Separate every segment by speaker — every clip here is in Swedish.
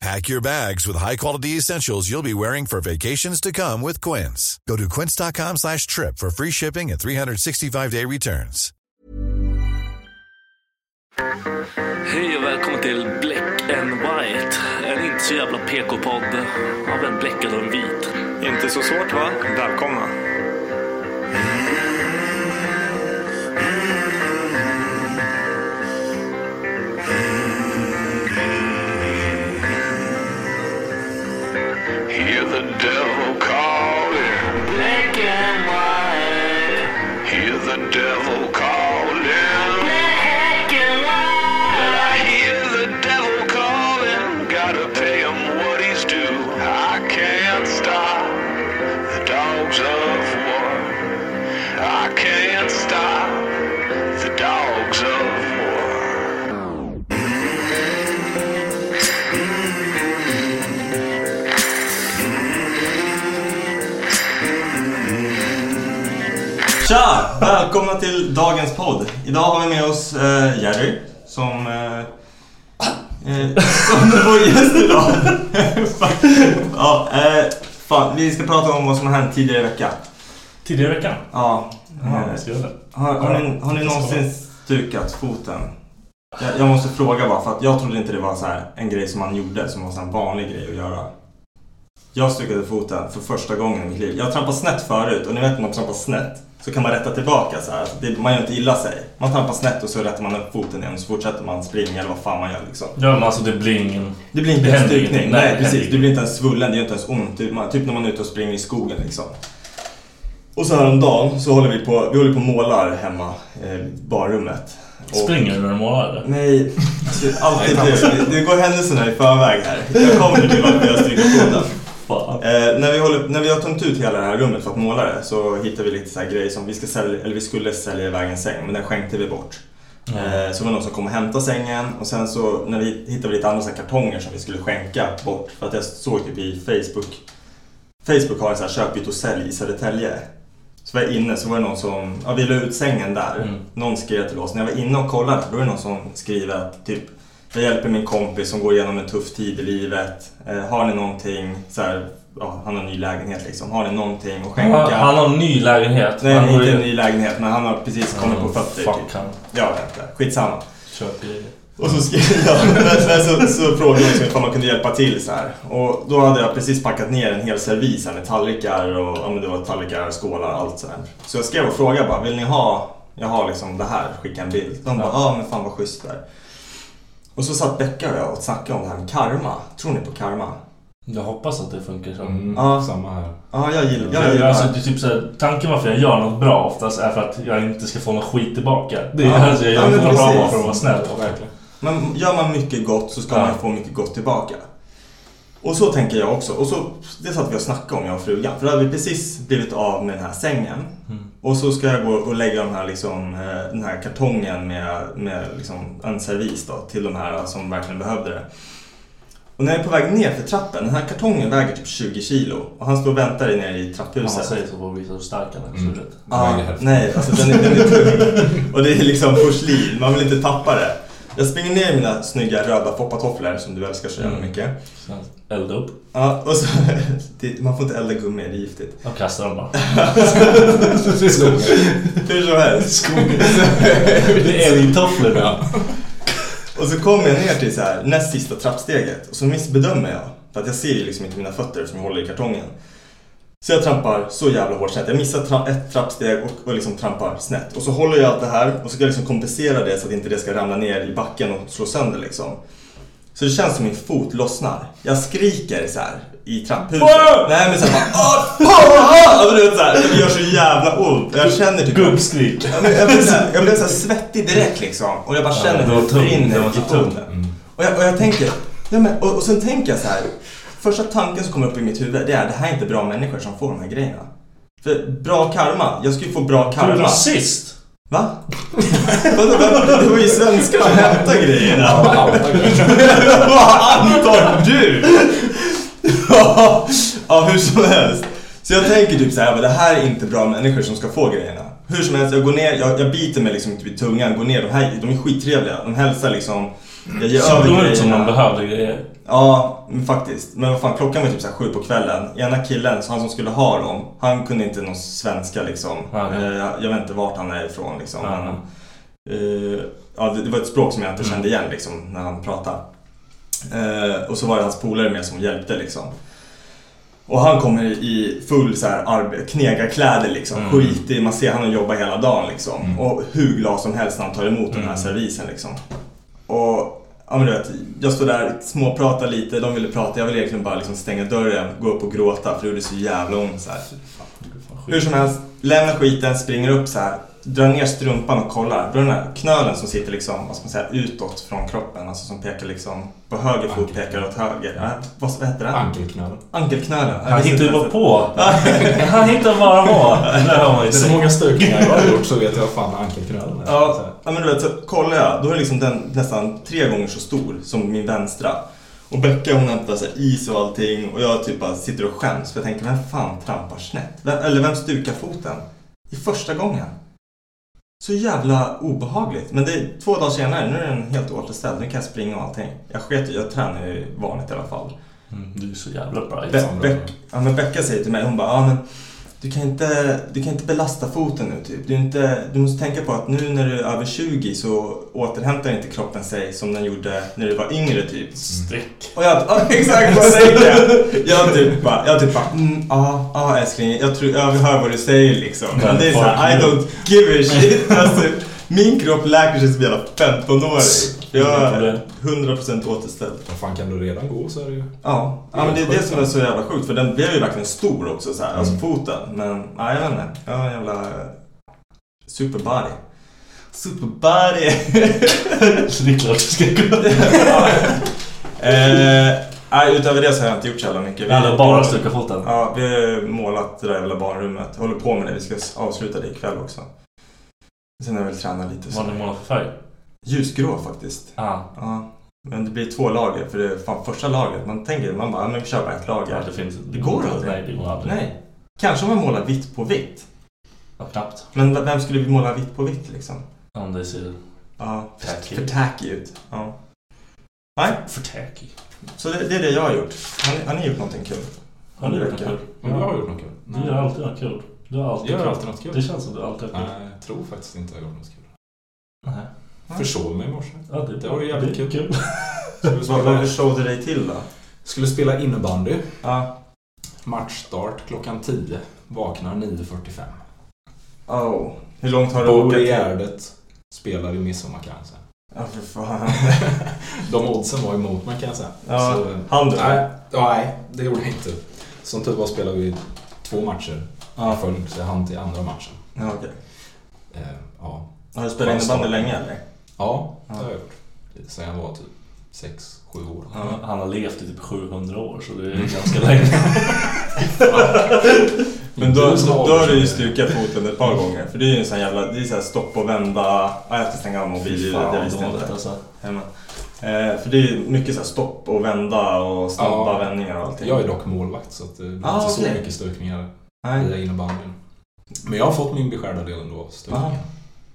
Speaker 1: Pack your bags with high-quality essentials you'll be wearing for vacations to come with Quince. Go to quince.com slash trip for free shipping and 365-day returns.
Speaker 2: Hej och välkommen till Black and White. En inte så jävla PK-podd av en bläckad och en vit.
Speaker 3: Inte så svårt va? Välkomna.
Speaker 4: Hear the devil calling. Black and white. Hear the devil calling. Black and white. I hear the devil calling. Gotta pay him what he's due. I can't stop the dogs of war. I can't stop the dogs of war.
Speaker 3: Tja! Välkomna till dagens podd. Idag har vi med oss eh, Jerry som... Eh, eh, som vår gäst idag. fan. Ja, eh, fan, vi ska prata om vad som har hänt tidigare i veckan.
Speaker 2: Tidigare i veckan?
Speaker 3: Ja.
Speaker 2: Ja,
Speaker 3: Eh,
Speaker 2: ska jag det?
Speaker 3: har, har, ni, har ni någonsin stukat foten? Jag, jag måste fråga bara för att jag trodde inte det var så här en grej som man gjorde som var så här en vanlig grej att göra. Jag stukade foten för första gången i mitt liv. Jag trampade snett förut och ni vet när man trampar snett så kan man rätta tillbaka så här. Alltså, Det, man gör inte illa sig. Man trampar snett och så rättar man upp foten igen och så fortsätter man springa eller vad fan man gör liksom.
Speaker 2: Ja, men alltså det blir ingen...
Speaker 3: Det blir inte en
Speaker 2: händer
Speaker 3: stukning. Nej,
Speaker 2: ingenting. Nej, det händer
Speaker 3: precis.
Speaker 2: ingenting.
Speaker 3: Det blir inte ens svullen, det gör inte ens ont. Typ, man, typ när man är ute och springer i skogen liksom. Och så häromdagen så håller vi på, vi håller på och målar hemma eh, i barrummet. Och,
Speaker 2: Springer du när du målar eller?
Speaker 3: Nej, det är alltid du. Det går händelserna i förväg här. Jag kommer till varför jag stryker foten.
Speaker 2: Fan.
Speaker 3: Eh, när, vi håller, när vi har tömt ut hela det här rummet för att måla det så hittar vi lite så här grejer som vi, ska sälja, eller vi skulle sälja iväg en säng men den skänkte vi bort. Eh, så var det någon som kom och hämtade sängen och sen så när vi hittade vi lite andra så här kartonger som vi skulle skänka bort. För att jag såg typ i Facebook. Facebook har en så här köp, byt och sälj i Södertälje. Så var jag inne så var det någon som, ja vi la ut sängen där. Någon skrev till oss. När jag var inne och kollade då är det någon som skriver att typ jag hjälper min kompis som går igenom en tuff tid i livet. Eh, har ni någonting, så här, ja, han har en ny lägenhet liksom. Har ni någonting att
Speaker 2: Han,
Speaker 3: skänka?
Speaker 2: har- han har en ny lägenhet.
Speaker 3: Nej,
Speaker 2: han går
Speaker 3: inte en
Speaker 2: in-
Speaker 3: ny lägenhet men han har precis kommit
Speaker 2: Mm,
Speaker 3: på fötter.
Speaker 2: fuck
Speaker 3: typ.
Speaker 2: han.
Speaker 3: Jag vet inte, skitsamma.
Speaker 2: Köper grejer.
Speaker 3: Och så, skrev jag, men så, så frågade jag liksom ifall man kunde hjälpa till så här. Och då hade jag precis packat ner en hel servis här med tallrikar och ja, men det var tallrikar, skålar, allt sådär. Så jag skrev och frågade bara, vill ni ha, jag har liksom det här, skicka en bild. De bara, ja men fan vad schysst där. Och så satt Becka och jag och snackade om det här med karma. Tror ni på karma?
Speaker 2: Jag hoppas att det funkar så.
Speaker 3: Ja,
Speaker 5: Samma här.
Speaker 3: ja jag gillar, jag
Speaker 2: Jag,
Speaker 3: gillar
Speaker 2: alltså, det är typ så här, tanken varför jag gör något bra oftast är för att jag inte ska få något skit tillbaka. Det är,
Speaker 3: Ja.
Speaker 2: alltså, jag
Speaker 3: Ja,
Speaker 2: gör
Speaker 3: men
Speaker 2: inte något bra
Speaker 3: precis.
Speaker 2: bara för att vara snäll.
Speaker 5: Verkligen.
Speaker 3: Men gör man mycket gott så ska
Speaker 2: Ja.
Speaker 3: man få mycket gott tillbaka. Och så tänker jag också. Och så, det satt vi och snackade om, jag och frugan. För då hade vi precis blivit av med den här sängen. Och så ska jag gå och lägga de här, liksom, eh, den här kartongen med, med liksom en servis då, till de här som verkligen behövde det. Och när jag är på väg ner för trappen, den här kartongen väger typ 20 kilo och han står och väntar nere i
Speaker 2: Om man
Speaker 3: trapphuset.
Speaker 2: säger så Mm. får vi visa hur stark han är. så är det.
Speaker 3: Ja, nej, alltså den är, den är tung. Och det är liksom porslin, man vill inte tappa det. Jag springer ner i mina snygga röda foppatofflor som du älskar så jävla
Speaker 2: Mm.
Speaker 3: mycket.
Speaker 2: Sen Elda upp
Speaker 3: Ja, och så, det, man får inte elda gummi, det är giftigt.
Speaker 2: och kasta dem bara.
Speaker 3: Hur som helst.
Speaker 2: Det är älgtofflor nu.
Speaker 3: Och så kommer jag ner till så här, näst sista trappsteget och så missbedömer jag. För att jag ser ju liksom inte mina fötter som jag håller i kartongen. Så jag trampar så jävla hårt snett. Jag missar tra- ett trappsteg och, och liksom trampar snett. Och så håller jag allt det här och så ska jag liksom kompensera det så att inte det ska ramla ner i backen och slå sönder liksom. Så det känns som min fot lossnar. Jag skriker så här i trapphuset. Nej men såhär bara "Åh, fan!" Alltså, du vet, så här, Det gör så jävla ont. Jag känner typ...
Speaker 2: Gubbskrik.
Speaker 3: Ja, men jag blev så här- jag blev så här svettig direkt liksom. Och jag bara känner
Speaker 2: det
Speaker 3: hur
Speaker 2: var
Speaker 3: det
Speaker 2: tungt.
Speaker 3: brinner
Speaker 2: Det var
Speaker 3: i
Speaker 2: så
Speaker 3: foten.
Speaker 2: tungt.
Speaker 3: Och jag, och jag tänker, nej men, och, och sen tänker jag så här. Första tanken som kommer upp i mitt huvud det är det här är inte bra människor som får de här grejerna. För bra karma, jag ska ju få bra
Speaker 2: Är du
Speaker 3: karma.
Speaker 2: rasist?
Speaker 3: Va? Vadå, vem- det var ju svenskar som hämtade grejerna. Vad antar du? ja, ja, hur som helst. Så jag tänker typ så här, "Men det här är inte bra människor som ska få grejerna. Hur som helst, jag går ner, jag, jag biter mig liksom inte vid tungan, går ner, de här, de är skittrevliga, de hälsar liksom. Jag ger
Speaker 2: Såg
Speaker 3: över
Speaker 2: de ut som de
Speaker 3: grejerna.
Speaker 2: behövde grejer?
Speaker 3: Ja, men faktiskt. Men vad fan, klockan var typ så här sju på kvällen. Ena killen, så han som skulle ha dem, han kunde inte någon svenska liksom.
Speaker 2: Ja, ja.
Speaker 3: Eh, Jag, jag vet inte vart han är ifrån liksom.
Speaker 2: Ja,
Speaker 3: men, eh, ja, det, det var ett språk som jag
Speaker 2: Mm.
Speaker 3: inte kände igen liksom, när han pratade. Eh, och så var det hans polare med som hjälpte liksom. Och han kommer i full så här arbe- knegarkläder liksom.
Speaker 2: Mm.
Speaker 3: Skitig, man ser han har jobbat hela dagen liksom. Och hur glad som helst när han tar emot den här
Speaker 2: Mm.
Speaker 3: servisen liksom. Och ja, men du vet, jag står där, småpratar lite, de ville prata. Jag ville egentligen bara liksom stänga dörren, gå upp och gråta för det gjorde så jävla ont så här. Hur som helst, lämnar skiten, springer upp så här. Drar ner strumpan och kollar. Då är den här knölen som sitter liksom, vad ska man säga, utåt från kroppen. Alltså som pekar liksom, på höger fot pekar åt höger. Ja, vad vad heter det?
Speaker 5: Ankelknölen.
Speaker 3: Ankelknölen. Äh, Ja,
Speaker 2: Han
Speaker 3: visst,
Speaker 2: hittar ju bara
Speaker 3: visst.
Speaker 2: på. Han hittar bara på. Det hör man ju
Speaker 5: Så
Speaker 2: direkt.
Speaker 5: många stukningar jag har gjort så vet jag vad fan ankelknölen är. Så
Speaker 3: Ja,
Speaker 5: här.
Speaker 3: ja, men du vet, så kollar jag. Då är liksom den nästan tre gånger så stor som min vänstra. Och Becka hon hämtar så här is och allting och jag typ bara sitter och skäms för jag tänker vem fan trampar snett? Vem, eller vem stukar foten? I första gången. Så jävla obehagligt. Men det är två dagar senare, nu är den helt återställd. Nu kan jag springa och allting. Jag sket ju- jag tränar ju vanligt i alla fall.
Speaker 2: Mm, Du är så jävla bra.
Speaker 3: Be- Beck, ja, men Becka säger till mig, hon bara, ja, men du kan, inte, du kan inte belasta foten nu typ. Du, är inte, du måste tänka på att nu när du är över 20 så återhämtar inte kroppen sig som den gjorde när du var yngre typ.
Speaker 2: Streck.
Speaker 3: Och jag, ja, exakt vad säger jag? Jag typ bara, jag typ bara, mm, ja, ja älskling, jag, tror, jag hör vad du säger liksom. Men det är såhär, I don't give a shit. Alltså, min kropp läker sig som en jävla 15-åring. Jag är 100% återställd.
Speaker 5: Vad fan kan du redan gå så är det ju.
Speaker 3: Ja, ja men det är det som är så jävla sjukt för den blev ju verkligen stor också så här,
Speaker 2: Mm.
Speaker 3: alltså foten. Men nej, jag vet inte. Jag har en jävla eh, superbody. Superbody!
Speaker 2: Så det är klart du ska gå.
Speaker 3: eh, nej, utöver det så har jag inte gjort så jävla mycket.
Speaker 2: Vi hade bara stukat foten.
Speaker 3: Ja, vi har målat det där jävla barnrummet. Håller på med det. Vi ska s- avsluta det ikväll också. Sen har jag väl tränat lite.
Speaker 2: Vad
Speaker 3: Så.
Speaker 2: ni målat för färg?
Speaker 3: Ljusgrå faktiskt.
Speaker 2: Ah,
Speaker 3: Ja. Men det blir två lager för det är fan första lagret. Man tänker, man bara, ja, men vi kör bara ett lager.
Speaker 2: ja, det finns
Speaker 3: Det går aldrig.
Speaker 2: Nej, det går aldrig.
Speaker 3: Nej. Kanske om man målar vitt på vitt.
Speaker 2: Ja, knappt.
Speaker 3: Men v- vem skulle vi måla vitt på vitt liksom?
Speaker 2: Om det ser
Speaker 3: Ja,
Speaker 2: Tacky.
Speaker 3: för tacky ut. Ja. Nej,
Speaker 2: för tacky.
Speaker 3: så det, det är det jag har gjort. Har ni, har ni gjort någonting kul?
Speaker 2: Har du
Speaker 3: Det
Speaker 2: gjort något
Speaker 3: räcker.
Speaker 2: kul?
Speaker 5: Men du har gjort något kul.
Speaker 2: Du gör alltid något kul. Du har alltid
Speaker 5: Jag gör
Speaker 2: kul.
Speaker 5: alltid något kul.
Speaker 2: Det känns som du alltid har kul.
Speaker 5: Nej, jag tror faktiskt inte jag har gjort något kul.
Speaker 2: Nej.
Speaker 5: Försov mig i morse.
Speaker 2: Ja, det, är
Speaker 5: Det
Speaker 2: bra.
Speaker 5: var ju jävligt
Speaker 2: Det är
Speaker 5: kul.
Speaker 3: Vad- Vad försov du dig till då?
Speaker 5: Skulle spela innebandy.
Speaker 3: Ja.
Speaker 5: Matchstart klockan 10. Vaknar 9.45.
Speaker 3: Oh. Hur långt har du
Speaker 5: Bor i
Speaker 3: åkat?
Speaker 5: Gärdet. Spelar i Midsommarkransen.
Speaker 3: Ja, för fan.
Speaker 5: De oddsen var emot mig kan jag säga.
Speaker 3: Ja,
Speaker 5: Så,
Speaker 3: hann du?
Speaker 5: nej, ja, nej, det gjorde jag inte. Som tur var spelade vi två matcher i följd, så jag hann till andra matchen.
Speaker 3: Ja, okej.
Speaker 5: Eh, ja.
Speaker 3: Har du spelat innebandy länge eller?
Speaker 5: ja, det har jag gjort. Sen jag var typ sex, sju år.
Speaker 2: Han-
Speaker 5: Mm.
Speaker 2: Han har levt i typ 700 år så det är ganska länge.
Speaker 3: Men då,
Speaker 5: Inte
Speaker 3: då har du ju
Speaker 5: Norge.
Speaker 3: stukat foten ett par gånger. För det är ju en sån jävla... Det är så här stopp och vända... Ja, jag ska stänga av mobilen.
Speaker 5: Fan,
Speaker 3: Jag visste
Speaker 5: dåligt,
Speaker 3: inte.
Speaker 5: alltså.
Speaker 3: Hemma. Eh, för det är ju mycket så här stopp och vända och snabba
Speaker 5: Ja.
Speaker 3: vändningar och allting.
Speaker 5: Jag är dock målvakt så att det blir
Speaker 3: Ah,
Speaker 5: inte så
Speaker 3: okej.
Speaker 5: mycket stökningar
Speaker 3: Nej.
Speaker 5: i innebandyn. Men jag har fått min beskärda del ändå av stökningen.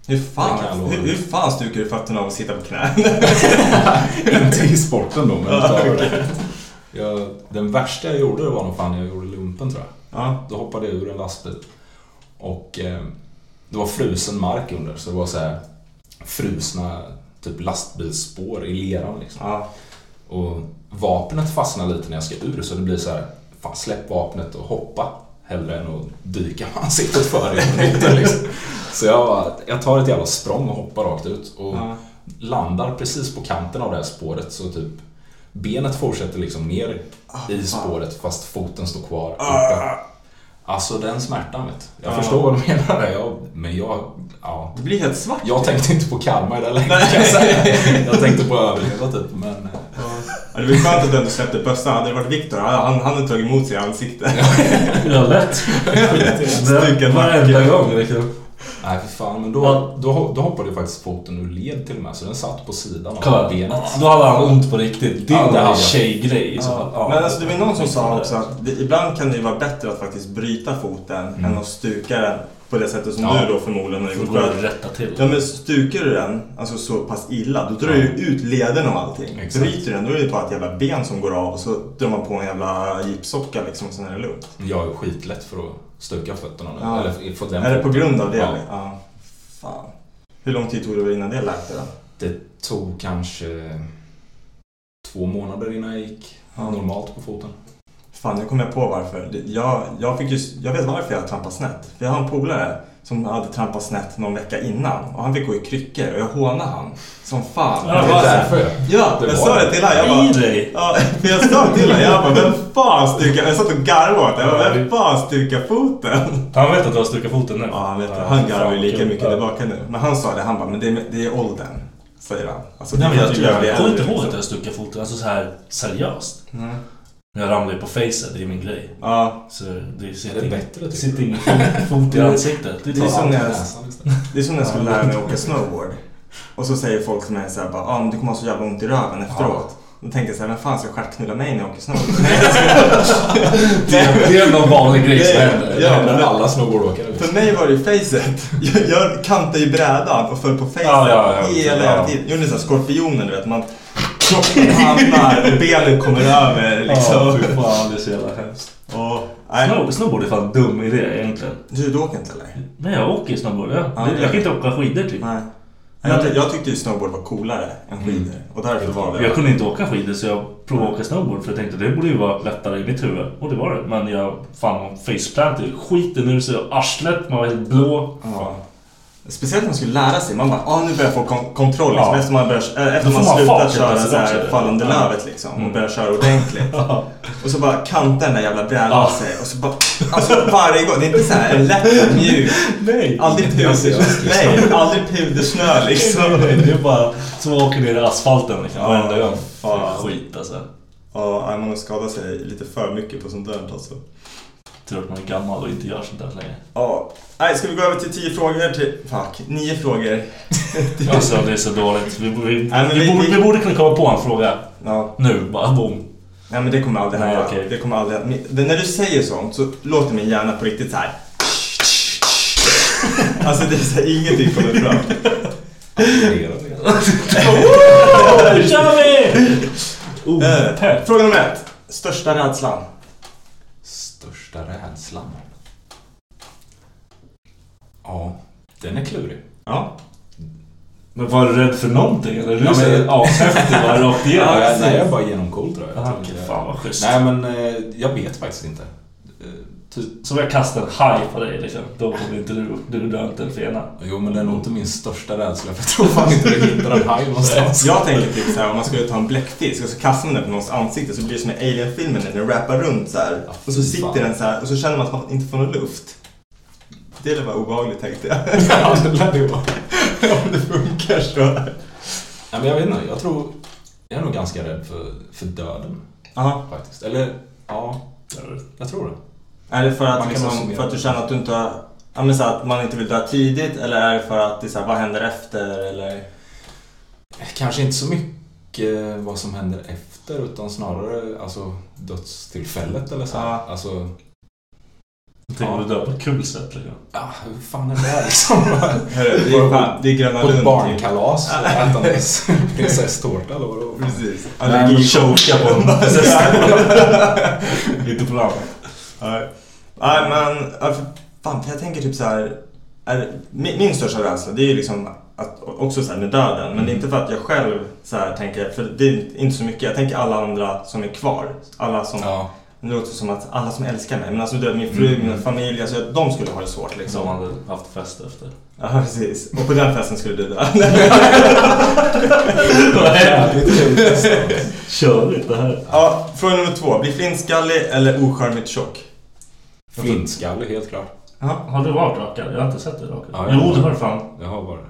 Speaker 3: Hur
Speaker 5: Det kan
Speaker 3: fan,
Speaker 5: jag lova.
Speaker 3: hur, hur fan stukar du fötterna av att sitta på knä?
Speaker 5: Ah. Inte i sporten då, men
Speaker 3: Ja,
Speaker 5: utöver jag, Den värsta jag gjorde var nog fan när jag gjorde lumpen tror jag.
Speaker 3: ja.
Speaker 5: Då hoppade jag ur en lastbil. Och eh, det var frusen mark under så det var så här frusna typ lastbilsspår i leran liksom.
Speaker 3: Ja.
Speaker 5: Och vapnet fastnar lite när jag ska ur så det blir så här, fan släpp vapnet och hoppa. Hellre än att dyka med ansiktet för i mitten liksom. Så jag, bara- jag tar ett jävla språng och hoppar rakt ut och landar precis på kanten av det här spåret så typ benet fortsätter liksom ner i spåret fast foten står kvar uppe. Alltså den smärtan vet du. Jag förstår vad du menar där. Jag, men jag, ja.
Speaker 3: Det blir helt svart.
Speaker 5: Jag tänkte inte på karma i det läget kan jag säga. Jag tänkte på att överleva typ men...
Speaker 3: Ja, det var ju skönt att du ändå släppte bössan. Hade det varit Viktor, han, han hade tagit emot sig i ansiktet.
Speaker 6: Ja, lätt.
Speaker 3: Stycken
Speaker 6: Varenda
Speaker 3: nacken.
Speaker 6: gång liksom.
Speaker 5: Nej för fan, men då,
Speaker 6: Ja.
Speaker 5: då, ho- då hoppade ju faktiskt foten ur led till och med så den satt på sidan av
Speaker 6: Kolla,
Speaker 5: benet.
Speaker 6: då hade han ont på riktigt. Det
Speaker 5: Ja,
Speaker 6: är
Speaker 5: det
Speaker 6: en
Speaker 5: hade jag.
Speaker 6: tjejgrej i så fall. Ja.
Speaker 3: Men alltså, det var någon som sa också att det, ibland kan det ju vara bättre att faktiskt bryta foten än att stuka den på det sättet som
Speaker 5: Mm. Ja.
Speaker 3: du då förmodligen har
Speaker 6: Det
Speaker 3: gjort.
Speaker 6: går
Speaker 3: För
Speaker 6: att
Speaker 3: att-
Speaker 6: rätta till.
Speaker 3: Ja men stukar du den alltså så pass illa, då drar du ju ut lederna och allting.
Speaker 5: Exakt.
Speaker 3: Bryter du den, då är det bara ett jävla ben som går av och så drar man på en jävla gipssocka liksom, sen är det lugnt.
Speaker 5: Jag är ju skitlätt för att stöka fötterna nu.
Speaker 3: Ja.
Speaker 5: Eller få den
Speaker 3: Är det på
Speaker 5: foten.
Speaker 3: grund av det?
Speaker 5: Ja.
Speaker 3: eller? ja. Fan. Hur lång tid tog det innan det läkte då?
Speaker 5: Det tog kanske två månader innan jag gick
Speaker 3: Ja.
Speaker 5: normalt på foten.
Speaker 3: Fan, nu kom jag på varför. Det- Jag, jag, fick just, jag vet varför jag trampade snett. För jag har en polare som hade trampat snett någon vecka innan och han fick gå i kryckor och jag hånade han som fan.
Speaker 6: Ja,
Speaker 3: Jag
Speaker 6: det är
Speaker 3: bara så här,
Speaker 5: därför, ja.
Speaker 3: Ja,
Speaker 5: Det
Speaker 3: jag
Speaker 5: var
Speaker 3: sa
Speaker 5: det.
Speaker 3: det till honom. Jag bara,
Speaker 6: I dig.
Speaker 3: ja, för jag sa till honom. Jag bara, vem fan stukar... Jag satt och garvade åt det. Jag bara,
Speaker 6: Ja,
Speaker 3: Vem
Speaker 6: det-
Speaker 3: fan stukar foten?
Speaker 6: Han vet att du har stukat foten nu.
Speaker 3: Ja, han vet det. Han garvar ju lika
Speaker 6: kul.
Speaker 3: mycket
Speaker 6: Ja.
Speaker 3: tillbaka nu. Men han sa det. Han bara, men det är, det är åldern. Säger han. Alltså,
Speaker 6: Nej, men
Speaker 3: kan
Speaker 6: jag,
Speaker 3: inte
Speaker 6: tror jag,
Speaker 3: bli
Speaker 6: jag kommer
Speaker 3: äldre,
Speaker 6: inte ihåg
Speaker 3: liksom.
Speaker 6: att jag stuckade foten, alltså så här seriöst. När jag ramlar ju på facet, det är min grej.
Speaker 3: Ja,
Speaker 6: Så det sitter,
Speaker 5: Är det
Speaker 6: ingen-
Speaker 5: bättre, tycker
Speaker 6: det
Speaker 5: du?
Speaker 6: sitter ingen fot- fot i ansiktet. Det
Speaker 3: Det är
Speaker 6: tar
Speaker 3: som
Speaker 6: allt.
Speaker 3: när jag
Speaker 5: Näsan istället.
Speaker 3: Det är som när jag skulle lära mig att åka snowboard. Och så säger folk till mig såhär bara, ah, men du kommer ha så jävla ont i röven efteråt. Då tänker jag såhär, vem fan ska stjärtknulla mig när jag åker snowboard? Nej, alltså, jag ska-
Speaker 6: Det är någon vanlig grej som
Speaker 3: Nej.
Speaker 6: händer.
Speaker 5: Det
Speaker 3: Ja,
Speaker 5: händer
Speaker 3: men-
Speaker 5: alla snowboardåkare.
Speaker 3: För mig var det ju facet. Jag, jag kantade ju brädan och föll på facet
Speaker 6: Ja, ja, ja.
Speaker 3: hela
Speaker 6: Ja.
Speaker 3: jävla tiden. Jag gjorde såhär skorpionen du vet. Man, kroppen hamnar och benet kommer över
Speaker 6: Ja,
Speaker 3: liksom.
Speaker 6: fy fan, det är så jävla hemskt.
Speaker 3: och, nej.
Speaker 6: Snow, snowboard Mm. är fan dum idé egentligen.
Speaker 3: Du, du åker inte eller?
Speaker 6: Men jag åker ju snowboard. Ja.
Speaker 3: Ja,
Speaker 6: Det-
Speaker 3: det
Speaker 6: jag
Speaker 3: gör
Speaker 6: kan inte åka skidor typ.
Speaker 3: Nej. Jag, ty- jag tyckte ju snowboard var coolare än skidor. Och därför var det...
Speaker 6: Mm. Jag kunde inte åka skidor så jag provade att åka snowboard för jag tänkte det borde ju vara lättare i mitt huvud. Och det var det. Men jag fan faceplant i skiten ur sig och arslet, man var helt blå.
Speaker 3: Ja. Speciellt när man skulle lära sig. Man bara, ah, nu börjar jag få kon- kontroll. Liksom,
Speaker 6: Ja.
Speaker 3: efter man, börjar, eh, efter
Speaker 6: Då får
Speaker 3: man
Speaker 6: man
Speaker 3: slutar
Speaker 6: fart helt
Speaker 3: köra
Speaker 6: plötsligt
Speaker 3: så här
Speaker 6: också.
Speaker 3: fall under
Speaker 6: Ja. Mm.
Speaker 3: lövet liksom. Och börjar köra ordentligt. och så bara kantar den där jävla brädan
Speaker 6: Ja.
Speaker 3: sig. Och så bara, alltså varje gång. Det är inte så här en lätt mjuk.
Speaker 6: Nej!
Speaker 3: Aldrig puder, nej, aldrig pudersnö liksom.
Speaker 6: Det är bara som att åka ner i asfalten liksom.
Speaker 3: Ja,
Speaker 6: Varenda gång.
Speaker 3: fan.
Speaker 6: Skit alltså.
Speaker 3: Ja, nej, man har skadat sig lite för mycket på sånt där alltså.
Speaker 6: Tror att man är gammal och inte gör sånt där längre.
Speaker 3: Ja, nej, ska vi gå över till tio frågor till... Fuck, nio frågor.
Speaker 6: Alltså det är så dåligt. Vi, borde- vi,
Speaker 3: Nej, men vi-
Speaker 6: vi, borde,
Speaker 3: vi-
Speaker 6: vi borde kunna komma på en fråga.
Speaker 3: Ja.
Speaker 6: Nu bara boom.
Speaker 3: Nej men det kommer aldrig
Speaker 6: Nej,
Speaker 3: hända.
Speaker 6: okej.
Speaker 3: Det kommer aldrig hända. Men När du säger sånt så låter min hjärna på riktigt så här. Alltså det är så här, ingenting kommer fram.
Speaker 6: Nu kör vi! Oh,
Speaker 3: Eh, Fråga nummer ett. Största rädslan?
Speaker 5: Största rädslan? Ja, den är klurig.
Speaker 3: Ja.
Speaker 6: Men var du rädd för någonting eller? Du
Speaker 5: Ja,
Speaker 6: ja,
Speaker 5: men-
Speaker 6: men, ashäftig bara rakt igenom.
Speaker 5: Ja, jag, nej, jag är bara genomcool tror jag.
Speaker 6: Ah,
Speaker 5: jag. tror
Speaker 6: okej,
Speaker 5: inte jag-
Speaker 6: fan vad schysst.
Speaker 5: Nej men eh, jag vet faktiskt inte. Eh, ty-
Speaker 6: Så om jag kastar en haj på dig liksom, då kommer inte du... Du dör inte en fena.
Speaker 5: Jo men det är nog inte min största rädsla för jag tror fan inte du hittar en haj någonstans.
Speaker 3: Jag tänker typ så här om man skulle ta en bläckfisk och så kastar man den på någons ansikte så blir det som i Alien-filmen när den rappar runt så här. Och så
Speaker 5: fy
Speaker 3: sitter
Speaker 5: fan.
Speaker 3: den så här och så känner man att man inte får någon luft. Det är bara obehagligt tänkte jag.
Speaker 5: Ja, det lär det vara.
Speaker 3: Om det funkar så.
Speaker 5: Nej men jag vet inte, jag tror... Jag är nog ganska rädd för, för döden
Speaker 3: Aha.
Speaker 5: faktiskt. Eller ja, jag tror det.
Speaker 3: Är det för
Speaker 5: Man
Speaker 3: att,
Speaker 5: kan
Speaker 3: liksom,
Speaker 5: summera.
Speaker 3: för att du känner att du inte har, ja, men så att man inte vill dö tidigt eller är det för att det är så här, vad händer efter eller?
Speaker 5: Kanske inte så mycket vad som händer efter utan snarare alltså, dödstillfället eller så.
Speaker 3: Ja.
Speaker 5: här. Alltså,
Speaker 6: Tänk om du dör på ett kul sätt. Liksom.
Speaker 5: ja, hur fan är det här liksom?
Speaker 3: Hörru, det är, fan, det är Gröna
Speaker 5: På ett
Speaker 3: Lund. typ.
Speaker 5: barnkalas ätandes prinsesstårta eller vad det var.
Speaker 3: Precis.
Speaker 6: Allergichoka på en
Speaker 3: Inte på namn. Nej. Nej men, ja, för fan för jag tänker typ så här. Är, min, min största rädsla det är ju liksom att, också så här med döden. Men det är inte för att jag själv så här tänker, för det är inte så mycket. Jag tänker alla andra som är kvar. Alla som,
Speaker 5: Ja,
Speaker 3: nu låter det som att alla som älskar mig. Men alltså du vet, min fru, min familj, alltså de skulle ha det svårt liksom.
Speaker 6: Som han hade haft fest efter.
Speaker 3: Ja precis. Och på den festen skulle du dö.
Speaker 5: jävligt kul alltså.
Speaker 6: Körigt det här.
Speaker 3: ja, fråga nummer två. Bli flintskallig eller ocharmigt tjock?
Speaker 5: Flintskallig helt klart.
Speaker 6: Har du varit rakad? Jag har inte sett dig rakad.
Speaker 5: Ja, jag
Speaker 6: jo,
Speaker 5: har.
Speaker 6: det har du fan.
Speaker 5: Jag har bara det.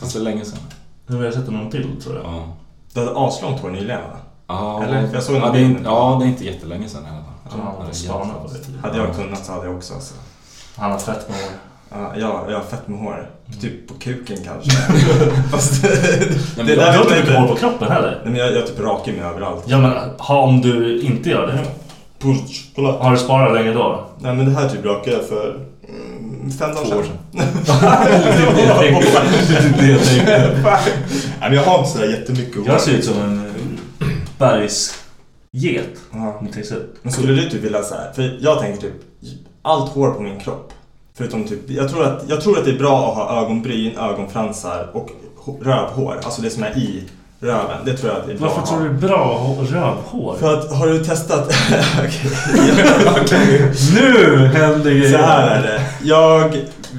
Speaker 5: Fast det är länge sedan.
Speaker 6: Nu har jag sett någon till tror jag.
Speaker 5: Ja.
Speaker 3: Du hade aslångt hår nyligen va?
Speaker 5: Ja,
Speaker 3: Eller? Jag såg
Speaker 5: ja,
Speaker 3: någon
Speaker 5: det är,
Speaker 3: bild.
Speaker 5: inte- ja, det är inte jättelänge sedan i alla fall.
Speaker 6: Han har
Speaker 5: Ja, det är
Speaker 6: spanat på
Speaker 5: jättebra.
Speaker 6: dig.
Speaker 3: Hade jag kunnat så hade jag också alltså.
Speaker 6: Han har fett med hår.
Speaker 3: Ja, jag, jag har fett med hår.
Speaker 5: Mm.
Speaker 3: Typ på kuken kanske. Fast det,
Speaker 5: men
Speaker 3: det
Speaker 5: jag-
Speaker 6: Du
Speaker 3: där
Speaker 6: har inte
Speaker 3: vet jag
Speaker 6: mycket
Speaker 3: inte.
Speaker 6: hår på kroppen heller.
Speaker 3: Nej, men jag, jag typ rakar mig överallt.
Speaker 6: Ja men ha, om du inte gör det.
Speaker 3: Push, kolla.
Speaker 6: Har du sparat länge då?
Speaker 3: Nej men det här typ rakade jag för mm, fem dagar
Speaker 5: Två år
Speaker 3: sedan.
Speaker 6: Det är det jag tänkte.
Speaker 3: Det är typ det jag tänkte. Nej men jag har inte sådär jättemycket hår.
Speaker 6: Jag ser ut som en eh, bergsget.
Speaker 3: Ja.
Speaker 6: Om ni tänker så.
Speaker 3: Men skulle du typ vilja så här, för jag tänker typ allt hår på min kropp. Förutom typ, jag tror att, jag tror att det är bra att ha ögonbryn, ögonfransar och ho- rövhår. Alltså det som är i röven. Det tror jag att det är bra
Speaker 6: Varför
Speaker 3: att
Speaker 6: tror
Speaker 3: ha.
Speaker 6: du det är bra att ha rövhår?
Speaker 3: För att, har du testat? Okej.
Speaker 6: Nu händer grejer!
Speaker 3: Så här är det. Jag,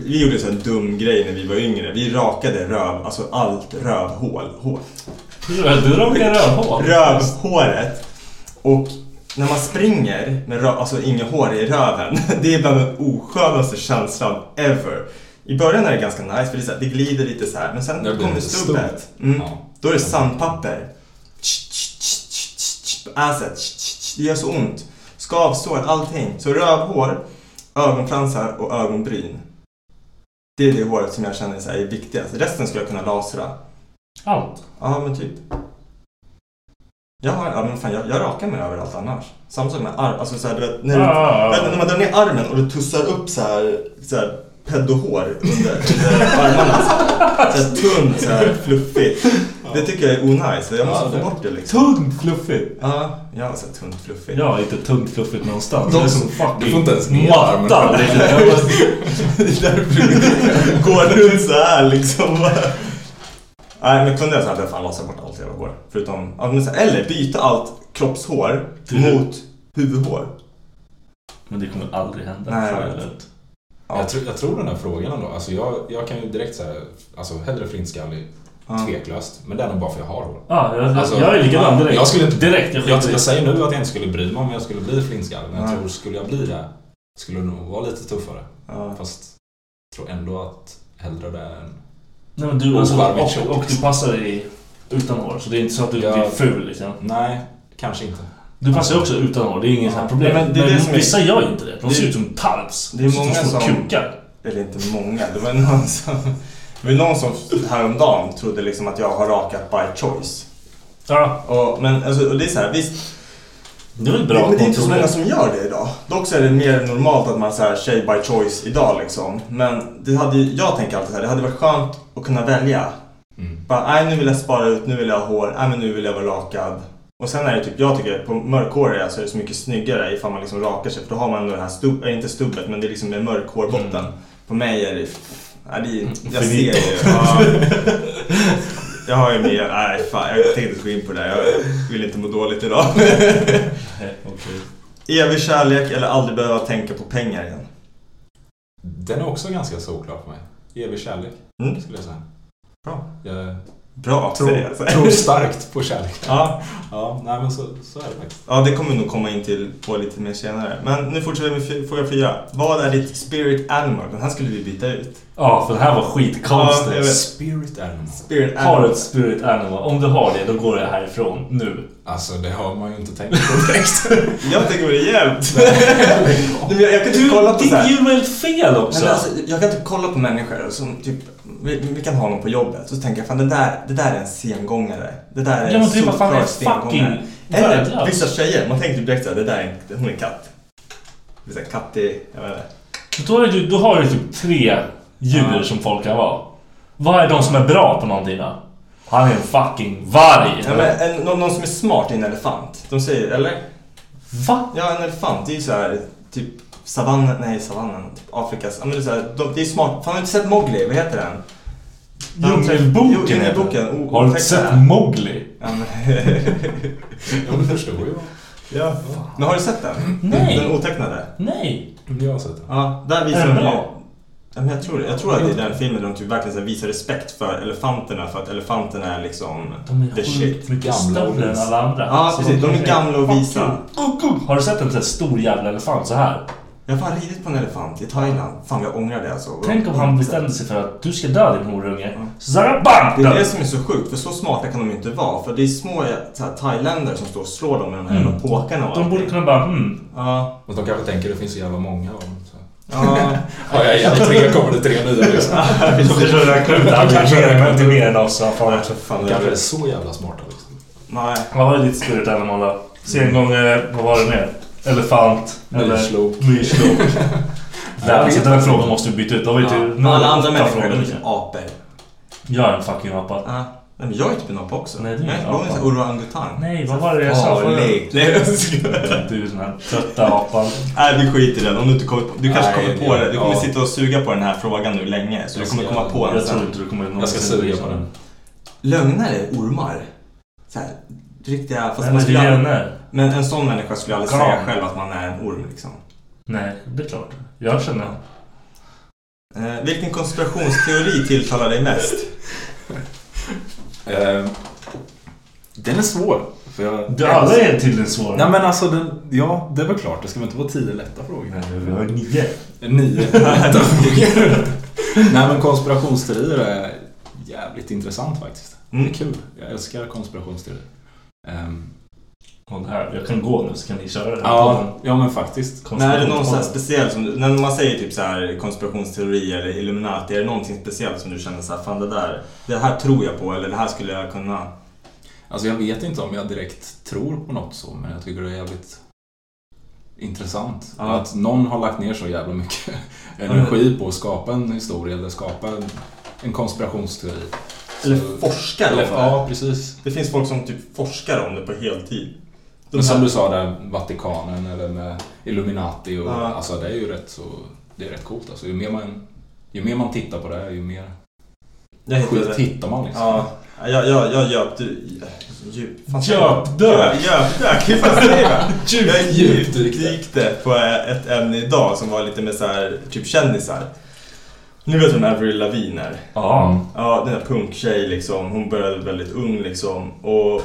Speaker 3: vi gjorde en sån här dum grej när vi var yngre. Vi rakade röv, alltså allt rövhål. Hår.
Speaker 6: Du råkar rövhår.
Speaker 3: Rövhåret. Och när man springer med röv, alltså inget hår i röven. Det är bland den oskönaste känslan ever. I början är det ganska nice för det, är så här, det glider lite så här. Men sen
Speaker 5: Det blir
Speaker 3: kommer
Speaker 5: lite
Speaker 3: stubbet.
Speaker 5: stort.
Speaker 3: Mm.
Speaker 5: Ja.
Speaker 3: Då är det sandpapper. Tsch, tsch, tsch, tsch, tsch, tsch, På asset. Tsch, tsch, tsch. Det gör så ont. Skavsår, allting. Så rövhår, ögonfransar och ögonbryn. Det är det håret som jag känner så här är viktigast. Resten skulle jag kunna lasra.
Speaker 6: Allt.
Speaker 3: Ja, men typ. Jag har, ja men fan jag, jag rakar mig överallt annars. Samma sak med arm, alltså såhär du vet, när, du,
Speaker 6: Ah.
Speaker 3: vet, du, när man drar ner armen och du tussar upp såhär, såhär pedohår under, under armarna. Såhär tunn, såhär fluffigt. Det tycker jag är onajs, jag måste
Speaker 5: Ja, det-
Speaker 3: få bort det liksom.
Speaker 6: Tungt fluffigt.
Speaker 3: Ja, jag har såhär tunt fluffigt.
Speaker 6: Ja, inte tungt fluffigt någonstans.
Speaker 5: De-
Speaker 6: det är som fucking
Speaker 5: du får inte ens ner
Speaker 6: matta.
Speaker 5: armen.
Speaker 6: Det är bara-
Speaker 3: Det är därför du går runt såhär liksom. Nej men kunde jag så hade jag fan lasat bort allt jävla hår. Förutom, ja, men så här, eller byta allt kroppshår
Speaker 6: Till hud.
Speaker 3: mot huvudhår.
Speaker 6: Men det kommer aldrig hända.
Speaker 3: Nej,
Speaker 6: Fan,
Speaker 3: jag vet.
Speaker 6: jag vet.
Speaker 3: Ja.
Speaker 5: Jag, tror, jag tror den här frågan ändå. Alltså jag, jag kan ju direkt säga, alltså hellre flintskallig, tveklöst. Men det är nog bara för jag har hår.
Speaker 6: Ja, jag,
Speaker 5: Alltså,
Speaker 6: jag är likadan direkt.
Speaker 5: Jag, skulle inte,
Speaker 6: direkt, jag
Speaker 5: jag,
Speaker 6: skiter
Speaker 5: jag,
Speaker 6: i det.
Speaker 5: säger nu att jag inte skulle bry mig om jag skulle bli flintskallig. Men
Speaker 3: Nej.
Speaker 5: jag tror, skulle jag bli det, skulle det nog vara lite tuffare.
Speaker 3: Ja.
Speaker 5: Fast jag tror ändå att hellre det än...
Speaker 6: Nej, men du,
Speaker 5: Och så
Speaker 6: alltså,
Speaker 5: varm i tjock,
Speaker 6: och, och du
Speaker 5: liksom.
Speaker 6: passar dig utan hår. Så det är inte så att du
Speaker 5: Ja.
Speaker 6: blir ful liksom.
Speaker 5: Nej, kanske inte.
Speaker 6: Du passar ju också utan hår. Det är inget sånt här problem.
Speaker 3: Nej,
Speaker 6: Men,
Speaker 3: men det är det som är-
Speaker 6: vissa gör ju inte det. De
Speaker 3: Det-
Speaker 6: ser ut som tarps.
Speaker 3: det är
Speaker 6: Ser ut
Speaker 3: många
Speaker 6: små
Speaker 3: som-
Speaker 6: kukar.
Speaker 3: Eller inte många, det var någon som, det var någon som häromdagen trodde liksom att jag har rakat by choice.
Speaker 6: Ja,
Speaker 3: Och, men alltså, och det är så här, visst,
Speaker 6: det är väl bra
Speaker 3: Bra, men det är inte så
Speaker 6: kontroll.
Speaker 3: många som gör det idag. Dock så är det mer normalt att man så här tjej by choice idag liksom. Men det hade, ju- jag tänker alltid så här, det hade varit skönt att kunna välja. Bara, nej nu vill jag spara ut, nu vill jag ha hår, nej men nu vill jag vara rakad. Och sen är det typ, jag tycker att på mörkhåriga så är det så mycket snyggare ifall man liksom rakar sig. För då har man ändå det här stubb, äh, inte stubbet, men det är liksom med mörk hårbotten. På mig är det, nej, det är, jag ser
Speaker 6: Finito.
Speaker 3: ju. Ja. Jag har ju mer, nej fan jag tänkte inte gå in på det här. Jag vill inte må dåligt idag.
Speaker 6: Nej, okej.
Speaker 3: Evig kärlek eller aldrig behöva tänka på pengar igen?
Speaker 5: Den är också ganska solklar för mig. Evig kärlek,
Speaker 3: Mm.
Speaker 5: skulle jag säga.
Speaker 3: Bra.
Speaker 5: Jag
Speaker 3: Bra, säger jag.
Speaker 6: Alltså.
Speaker 5: tror, tror starkt på kärlek.
Speaker 3: Ja,
Speaker 5: Ja, nej men så, så är det faktiskt.
Speaker 3: ja, det kommer vi nog komma in till på lite mer senare. Men nu fortsätter vi med fy- fråga fyra. Vad är ditt spirit animal? Den här skulle vi byta ut.
Speaker 6: Ja, för det här var skitkonstigt.
Speaker 3: Ja, jag vet.
Speaker 5: Spirit animal.
Speaker 3: Spirit
Speaker 6: Har du
Speaker 3: animal.
Speaker 6: ett spirit animal? Om du har det, då går jag härifrån. Nu.
Speaker 5: Alltså det har man ju inte tänkt på direkt.
Speaker 3: Jag tycker det är jävligt. Nej, men jag, jag kan
Speaker 6: Du,
Speaker 3: typ kolla på
Speaker 6: det
Speaker 3: så
Speaker 6: är
Speaker 3: här.
Speaker 6: ju helt fel
Speaker 3: Nej,
Speaker 6: också.
Speaker 3: men alltså, jag kan typ kolla på människor som typ, vi, vi kan ha någon på jobbet, så tänker jag fan det där, det där är en sengångare. Det där är
Speaker 6: Ja,
Speaker 3: en
Speaker 6: men typ, vad fan är
Speaker 3: solklar
Speaker 6: fucking
Speaker 3: sengångare. Eller
Speaker 6: värdelös?
Speaker 3: vissa tjejer, man tänker typ direkt såhär, det där är en, hon är en katt. Det är så här, Katt i, jag vet inte.
Speaker 6: Då, är du, då har du typ tre djur
Speaker 3: Ja.
Speaker 6: som folk kan vara. Vad är de som är bra på någonting då? Han är en fucking varg.
Speaker 3: Ja, men en, någon, någon som är smart är en elefant. De säger, eller?
Speaker 6: Va?
Speaker 3: Ja, en elefant, det är ju såhär typ savannen, nej savannen, typ Afrikas, ja men det är såhär, de, det är smart. Fan har du inte sett Mowgli, vad heter den?
Speaker 6: Djungelboken
Speaker 3: Jo,
Speaker 6: heter den.
Speaker 3: Djungelboken, o-
Speaker 6: Har du inte
Speaker 3: otäckt det
Speaker 6: sett
Speaker 3: här.
Speaker 6: Mowgli?
Speaker 3: Ja, men-
Speaker 5: Ja, men det förstår jag.
Speaker 3: Ja. Men har du sett den?
Speaker 6: Nej.
Speaker 3: Den otecknade?
Speaker 6: Nej!
Speaker 5: Jag har sett den.
Speaker 3: Ja, där visar
Speaker 6: Är den
Speaker 3: de ju...
Speaker 6: bra?
Speaker 3: Ja, men jag, tror, det. jag tror att det är den filmen där de typ verkligen så här visar respekt för elefanterna för att elefanterna är liksom
Speaker 6: De är
Speaker 3: the
Speaker 6: sjukt
Speaker 3: shit.
Speaker 6: mycket
Speaker 5: Gamla och
Speaker 6: större än
Speaker 5: visa.
Speaker 6: alla andra.
Speaker 3: Ja,
Speaker 6: Så
Speaker 3: precis. De är gamla och
Speaker 6: Fuck
Speaker 3: visa.
Speaker 6: you. Guck, guck. Har du sett en sån här stor jävla elefant så här?
Speaker 3: Jag har fan ridit på en elefant i Thailand. Fan jag ångrar det alltså.
Speaker 6: Tänk om han bestämde sig för att du ska dö din horunge. Så såhär
Speaker 3: Det
Speaker 6: BAM!
Speaker 3: är Mm. det
Speaker 6: död.
Speaker 3: som är så sjukt för så smarta kan de ju inte vara. För det är små eh, så här, thailändare som står och slår dem med de här jävla påkarna och
Speaker 6: Mm. De borde
Speaker 3: allting.
Speaker 6: kunna bara hmm.
Speaker 3: Ja,
Speaker 5: Och de kanske tänker det finns så jävla många av dem. Så.
Speaker 3: ja.
Speaker 5: Har jag ihjäl tre kommer det tre nya liksom.
Speaker 6: De kanske räknar ut att han är inte mer än oss. Fan,
Speaker 3: Nej,
Speaker 6: också.
Speaker 3: fan, det
Speaker 5: Kanske är
Speaker 3: är...
Speaker 5: så jävla smarta liksom.
Speaker 3: Nej.
Speaker 6: Vad var ditt spirit animal då? Sengångare, eh, vad var det mer? Elefant? eller-
Speaker 5: Myrslok.
Speaker 6: Myrslok.
Speaker 5: Jag
Speaker 6: Där,
Speaker 5: vet
Speaker 6: så den här
Speaker 5: inte.
Speaker 6: frågan måste vi byta ut. Då var ju typ
Speaker 3: Men alla andra
Speaker 6: åtta
Speaker 3: människor
Speaker 6: frågor.
Speaker 3: är liksom apor.
Speaker 6: Jag är en fucking apa.
Speaker 3: Ja. Nej, men jag är typ en apa också.
Speaker 6: Nej, du är
Speaker 3: jag
Speaker 6: en
Speaker 3: är
Speaker 6: apa.
Speaker 3: en orangutang.
Speaker 6: Nej, vad var det jag sa
Speaker 3: Farlig. Nej, jag skojar.
Speaker 6: Du är den här trötta apan.
Speaker 3: Nej, vi skiter i den. Om du inte kommer på, du kanske
Speaker 5: Nej,
Speaker 3: kommer på det. Du kommer
Speaker 5: ja.
Speaker 3: sitta och suga på den här frågan nu länge. Så du
Speaker 5: Jag
Speaker 3: kommer
Speaker 5: ska-
Speaker 3: komma på den
Speaker 6: Jag tror
Speaker 3: sen.
Speaker 6: inte du kommer någonsin...
Speaker 5: Jag ska suga på den.
Speaker 3: Lögnare, ormar. Så här, riktiga... Fast
Speaker 6: Men
Speaker 3: man
Speaker 6: det
Speaker 3: skulle
Speaker 6: är
Speaker 3: aldrig,
Speaker 6: vänner.
Speaker 3: men en sån människa skulle aldrig
Speaker 6: Kan.
Speaker 3: säga själv att man är en orm liksom.
Speaker 6: Nej, det är klart. Jag känner...
Speaker 3: Eh, vilken konspirationsteori tilltalar dig mest?
Speaker 5: Eh, den är svår. För jag...
Speaker 6: Du, alla är tydligen svåra.
Speaker 5: Nej men alltså, den, ja det är väl klart. Det ska väl inte vara tio lätta frågor?
Speaker 6: Nej, vi har nio.
Speaker 5: Nio lätta frågor. Nej men konspirationsteorier är jävligt intressant faktiskt. Det
Speaker 3: Mm.
Speaker 5: är kul. Jag älskar konspirationsteorier. Ehm,
Speaker 6: Kolla här, jag kan gå nu så kan ni köra det.
Speaker 5: ja, ja men faktiskt.
Speaker 6: Konspiration-
Speaker 3: Men är det någon så här speciell som, du- när man säger typ så här konspirationsteori eller Illuminati, är det någonting speciellt som du känner så här, fan det där, det här tror jag på eller det här skulle jag kunna?
Speaker 5: Alltså jag vet inte om jag direkt tror på något så, men jag tycker det är jävligt intressant.
Speaker 3: Ja.
Speaker 5: Att någon har lagt ner så jävla mycket energi på att skapa en historia eller skapa en, en konspirationsteori.
Speaker 3: Eller
Speaker 5: Så-
Speaker 3: forskar om
Speaker 5: eller,
Speaker 3: det.
Speaker 5: Ja, precis.
Speaker 3: Det finns folk som typ forskar om det på heltid. De
Speaker 5: Men som
Speaker 3: här-
Speaker 5: du sa där, Vatikanen eller med Illuminati och
Speaker 3: Ja.
Speaker 5: alltså det är ju rätt så, det är rätt coolt alltså. Ju mer man, ju mer man tittar på det här, ju mer
Speaker 3: jag heter
Speaker 5: skit
Speaker 3: det.
Speaker 5: hittar man liksom.
Speaker 3: Ja, jag, jag, jag djöp... Du, djup, fan,
Speaker 6: Djöpdök.
Speaker 3: Djöpdök, hur fan säger man?
Speaker 5: Djup-
Speaker 3: Jag
Speaker 5: djupdykte.
Speaker 3: djupdykte på eh, ett ämne idag som var lite med så här, typ kändisar. Nu vet du vem Avril Lavigne är?
Speaker 6: Ja.
Speaker 3: Ja, den där punktjej liksom. Hon började väldigt ung liksom. Och...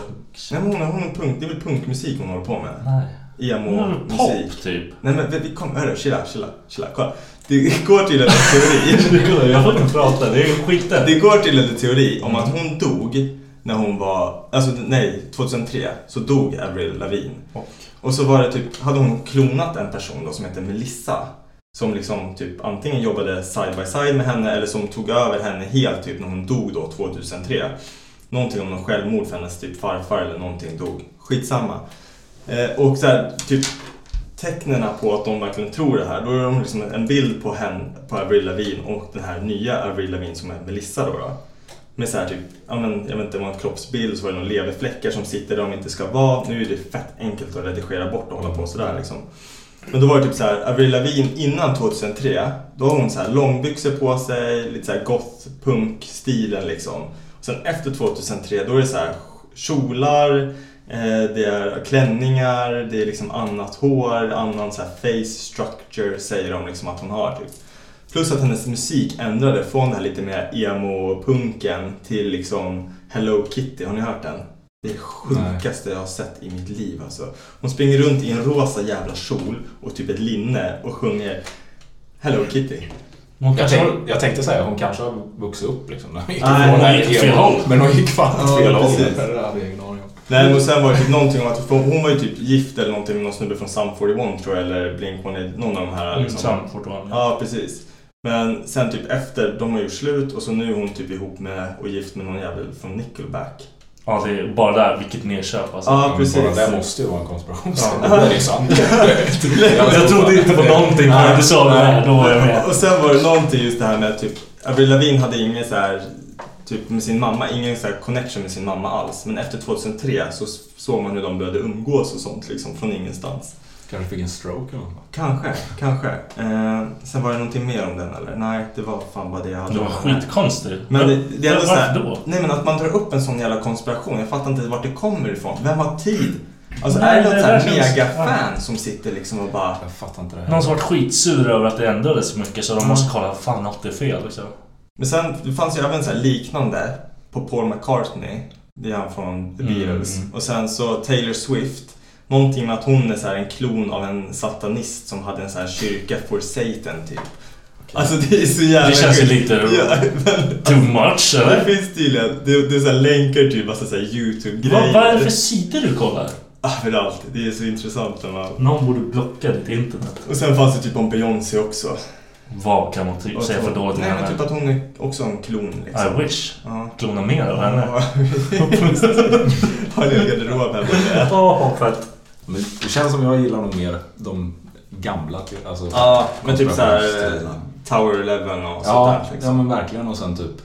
Speaker 3: Nej, men hon, hon är punk, det är väl punkmusik hon håller på med?
Speaker 6: Nej. Mm,
Speaker 3: Emo-musik.
Speaker 6: Pop, typ.
Speaker 3: Nej men vi- vi kommer, hörru, chilla, chilla, chilla, kolla. Det går till en teori.
Speaker 6: Jag får inte prata, det är skiten.
Speaker 3: Det går till en teori om att hon dog när hon var, alltså nej, 2003 så dog Avril Lavigne.
Speaker 6: Och?
Speaker 3: Och så var det typ, hade hon klonat en person då som hette Melissa. Som liksom typ antingen jobbade side by side med henne eller som tog över henne helt typ när hon dog då 2003. Någonting om någon självmord för hennes typ farfar eller någonting dog. Skitsamma. Eh, och så här, typ tecknen på att de verkligen tror det här. Då är de liksom en bild på henne, på Avril Lavigne och den här nya Avril Lavigne som är Melissa då. då. Med så här typ, ja men jag vet inte, det var en kroppsbild så var det några leverfläckar som sitter där de inte ska vara. Nu är det fett enkelt att redigera bort och hålla på sådär liksom. Men då var det typ så här, Avril Lavigne innan 2003, då har hon så här långbyxor på sig, lite så här goth punk stilen liksom. Och sen efter 2003 då är det så här kjolar, eh, det är klänningar, det är liksom annat hår, annan så här face structure säger de liksom att hon har typ. Plus att hennes musik ändrade från det här lite mer emo-punken till liksom Hello Kitty, har ni hört den? Det är det sjukaste jag har sett i mitt liv alltså. Hon springer runt i en rosa jävla kjol och typ ett linne och sjunger Hello Kitty.
Speaker 5: Hon
Speaker 1: Jag,
Speaker 5: kanske
Speaker 1: tänk,
Speaker 5: har-
Speaker 1: jag tänkte säga hon kanske har vuxit upp liksom. När hon gick
Speaker 3: Nej,
Speaker 1: ifrån
Speaker 3: hon
Speaker 1: det här
Speaker 5: gick åt
Speaker 1: helt.
Speaker 5: fel håll.
Speaker 1: Men hon gick fan åt
Speaker 3: Ja,
Speaker 1: fel håll.
Speaker 3: precis.
Speaker 1: Det hade jag ingen aning om.
Speaker 3: Nej men sen var det typ någonting om att för hon var ju typ gift eller någonting med någon snubbe från Sum 41 tror jag eller Blink någon av de här
Speaker 5: Mm,
Speaker 3: liksom.
Speaker 5: Sam fortfarande.
Speaker 3: Ja precis. Men sen typ efter, de har gjort slut och så nu är hon typ ihop med och gift med någon jävel från Nickelback.
Speaker 5: Ja, det är bara där. Vilket nerköp alltså.
Speaker 3: Ja
Speaker 1: Men
Speaker 3: precis.
Speaker 1: Bara det måste ju vara en konspiration. Det
Speaker 5: Ja.
Speaker 1: är ju sant. Jag,
Speaker 5: Jag trodde inte på någonting förrän du sa det här. Då var jag med.
Speaker 3: Och sen var det någonting just det här med typ Avril Lavigne hade ingen så här typ med sin mamma, ingen så här connection med sin mamma alls. Men efter 2003 så såg man hur de började umgås och sånt liksom från ingenstans.
Speaker 1: Kanske fick en stroke eller något.
Speaker 3: Kanske, kanske. Eh, sen var det någonting mer om den eller? Nej, det var fan bara det jag hade.
Speaker 5: Det var skitkonstigt.
Speaker 3: Men det, det är ändå så här,
Speaker 5: Varför då?
Speaker 3: Nej men att man drar upp en sån jävla konspiration. Jag fattar inte vart det kommer ifrån. Vem har tid? Alltså
Speaker 5: Nej,
Speaker 3: är det
Speaker 5: det
Speaker 3: något så
Speaker 5: där
Speaker 3: här
Speaker 5: känns-
Speaker 3: megafan som sitter liksom och bara...
Speaker 1: Jag fattar inte det här.
Speaker 5: Någon som varit skitsur över att det ändrades så mycket så de
Speaker 3: Mm.
Speaker 5: måste kolla, fan något är fel liksom.
Speaker 3: Men sen, det fanns ju även så här liknande på Paul McCartney. Det är han från
Speaker 5: Mm,
Speaker 3: The Beatles. Och sen så Taylor Swift. Någonting med att hon är så här en klon av en satanist som hade en så här kyrka for Satan typ. Alltså det är så jävla
Speaker 5: Det känns ju
Speaker 3: sjukt.
Speaker 5: lite-
Speaker 3: Ja, men,
Speaker 5: Too much
Speaker 3: det
Speaker 5: eller?
Speaker 3: finns tydligen. Det, det är så här länkar till massa så här
Speaker 5: Vad, vad är det för
Speaker 3: YouTube-grejer.
Speaker 5: sidor du kollar?
Speaker 3: Överallt. Det är så intressant när man...
Speaker 5: Någon borde blocka ditt internet.
Speaker 3: Och sen fanns det typ om Beyoncé också.
Speaker 5: Vad kan man ty- säga för dåligt om
Speaker 3: Nej men typ
Speaker 5: henne?
Speaker 3: att hon är också en klon liksom.
Speaker 5: I wish.
Speaker 3: Ja.
Speaker 5: Klona mer av henne.
Speaker 3: Har ni en garderob hemma? eller?
Speaker 5: Åh, fett.
Speaker 1: Men det känns som jag gillar nog mer de gamla. Alltså,
Speaker 3: Ja, men typ såhär eh,
Speaker 1: konspirationsstilarna.
Speaker 3: Tower 11 och sånt
Speaker 1: Ja,
Speaker 3: där
Speaker 1: ja,
Speaker 3: liksom.
Speaker 1: men verkligen. Och sen typ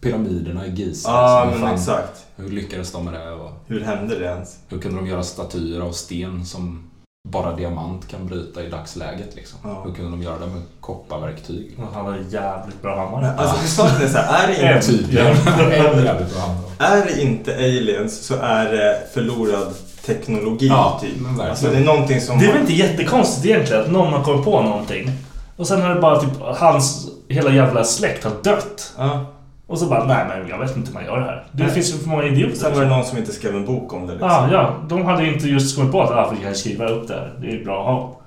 Speaker 1: pyramiderna i Giza.
Speaker 3: Ja,
Speaker 1: liksom. Hur
Speaker 3: men
Speaker 1: fan-
Speaker 3: exakt.
Speaker 1: Hur lyckades de med det? Och
Speaker 3: Hur hände det ens?
Speaker 1: hur kunde de göra statyer av sten som bara diamant kan bryta i dagsläget? Liksom?
Speaker 3: Ja.
Speaker 1: Hur kunde de göra det med kopparverktyg?
Speaker 5: Och Han har en jävligt bra hammare.
Speaker 3: Alltså typ. för saken är såhär, är, det
Speaker 5: En.
Speaker 3: inte-
Speaker 1: Tydligen. Det är typ, jävligt bra hand om.
Speaker 3: är det inte aliens så är det förlorad teknologi
Speaker 1: Ja,
Speaker 3: typ.
Speaker 1: men verkligen.
Speaker 3: Alltså det är någonting som...
Speaker 5: Det är väl inte jättekonstigt egentligen att någon har kommit på någonting. Och sen har det bara typ hans hela jävla släkt har dött.
Speaker 3: Ja.
Speaker 5: Och så bara, nej men jag vet inte hur man gör det här. Det
Speaker 3: Nej.
Speaker 5: finns ju för många idioter.
Speaker 3: Sen var det någon som inte skrev en bok om det liksom.
Speaker 1: Alltså.
Speaker 5: Ah, ja, de hade inte just kommit på att ah, vi kan skriva upp det här. Det är bra att ha.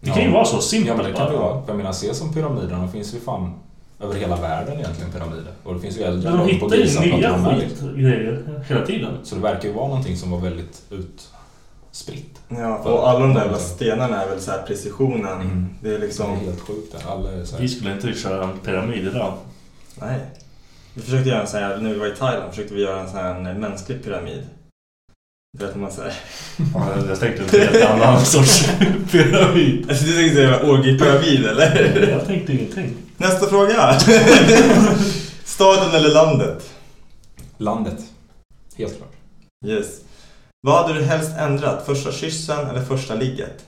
Speaker 5: Det kan ju
Speaker 1: Ja.
Speaker 5: vara så simpelt.
Speaker 1: Ja men det kan
Speaker 5: bara.
Speaker 1: det vara. För Jag menar se som pyramiderna, de finns ju fan över hela världen egentligen pyramider. Och det finns ju äldre
Speaker 5: Men de
Speaker 1: lag
Speaker 5: hittar ju
Speaker 1: Giza att de
Speaker 5: nya
Speaker 1: är-
Speaker 5: skitgrejer hela tiden.
Speaker 1: Så det verkar ju vara någonting som var väldigt utspritt.
Speaker 3: Ja, och alla de där jävla stenarna är väl så här precisionen.
Speaker 1: Mm.
Speaker 3: Det är
Speaker 1: Det är
Speaker 3: liksom...
Speaker 1: helt sjukt där. Alla är så
Speaker 5: Vi
Speaker 1: här,
Speaker 5: skulle inte köra en pyramid idag.
Speaker 3: Nej. Vi försökte göra en sån här, när vi var i Thailand försökte vi göra en sån här mänsklig pyramid. Du vet när man säger...
Speaker 5: Jag tänkte en helt annan sorts pyramid.
Speaker 3: Alltså du tänkte säga orgiepyramid eller?
Speaker 5: Jag tänkte ingenting.
Speaker 3: Nästa fråga! Staden eller landet?
Speaker 1: landet. Helt klart.
Speaker 3: Yes. Vad hade du helst ändrat? Första kyssen eller första ligget?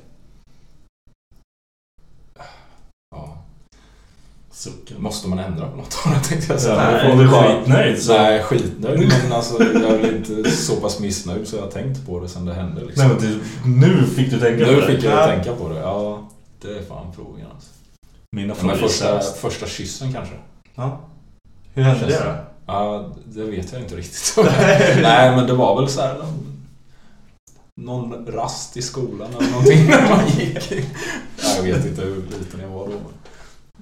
Speaker 1: Ja.
Speaker 5: Suckar.
Speaker 1: Måste man ändra på något då tänkte jag säga.
Speaker 3: Nej,
Speaker 1: Då får
Speaker 5: du
Speaker 1: vi
Speaker 5: är
Speaker 1: bara-
Speaker 5: skitnöjd, så.
Speaker 1: Nej, skitnöjd. Men alltså jag är väl inte så pass missnöjd så jag har tänkt på det sen det hände liksom.
Speaker 5: Nej men du, nu fick du tänka
Speaker 1: nu
Speaker 5: på
Speaker 1: fick
Speaker 5: det.
Speaker 1: jag
Speaker 3: Ja.
Speaker 1: tänka på det. Ja, det är fan frågan alltså. Ja,
Speaker 5: Mina
Speaker 1: men
Speaker 5: frågor är
Speaker 1: första,
Speaker 5: sämst.
Speaker 1: första kyssen kanske.
Speaker 3: Ja. Hur hände
Speaker 1: Känns
Speaker 3: det då?
Speaker 1: det. Ja, det vet jag inte riktigt. Nej, men det var väl så här någon, någon rast i skolan eller någonting när man gick. Ja, jag vet inte hur liten jag var då. Men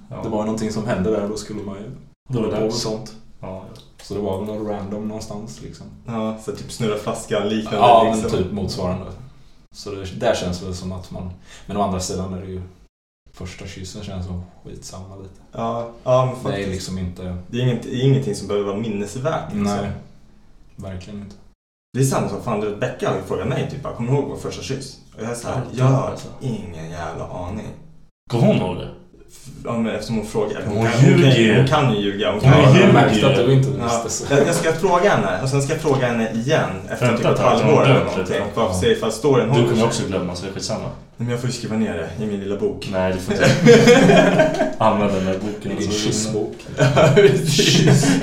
Speaker 5: Ja.
Speaker 1: det var ju någonting som hände där och då skulle man ju
Speaker 5: Då var
Speaker 1: på
Speaker 5: det
Speaker 1: med
Speaker 5: dags.
Speaker 1: sånt.
Speaker 5: Ja,
Speaker 1: Så det var väl någon random någonstans liksom.
Speaker 3: Ja, så typ snurra flaskan liknande
Speaker 1: Ja, men
Speaker 3: liksom.
Speaker 1: typ motsvarande. Så det, där känns väl som att man... Men å andra sidan är det ju... Första kyssen känns som skitsamma lite.
Speaker 3: Ja, ja men
Speaker 1: Det är
Speaker 3: faktiskt.
Speaker 1: liksom inte...
Speaker 3: Det är inget, det är ingenting som behöver vara minnesvärt. liksom.
Speaker 1: Nej. Verkligen inte.
Speaker 3: Det är samma som fan, du vet, Becka har ju frågat mig typ bara, kommer du ihåg vår första kyss? Och jag är såhär,
Speaker 5: Ja,
Speaker 3: jag har
Speaker 5: alltså.
Speaker 3: ingen jävla aning.
Speaker 5: Kom hon ihåg det?
Speaker 3: Ja, men eftersom hon frågar.
Speaker 5: Hon
Speaker 3: kan, hon,
Speaker 5: ljuger.
Speaker 3: kan, hon kan ju ljuga. Hon kan
Speaker 5: Ja,
Speaker 3: ju
Speaker 5: ljuger.
Speaker 1: jag
Speaker 3: ljuga.
Speaker 1: märkte att du inte
Speaker 3: Ja,
Speaker 1: visste. Så.
Speaker 3: jag, jag ska fråga henne och sen ska jag fråga henne igen efter
Speaker 5: Vänta
Speaker 3: typ ett
Speaker 5: ett tag,
Speaker 3: halvår
Speaker 5: hon
Speaker 3: eller
Speaker 5: dör
Speaker 3: någonting.
Speaker 5: lite.
Speaker 3: Bara för att se ifall storyn
Speaker 5: Du
Speaker 3: håller sig.
Speaker 5: kommer också glömma så det är skitsamma.
Speaker 3: Nej, Men jag får ju skriva ner det i min lilla bok.
Speaker 5: Nej, du får inte använda den där
Speaker 1: I
Speaker 5: boken. alltså.
Speaker 1: din kyssbok.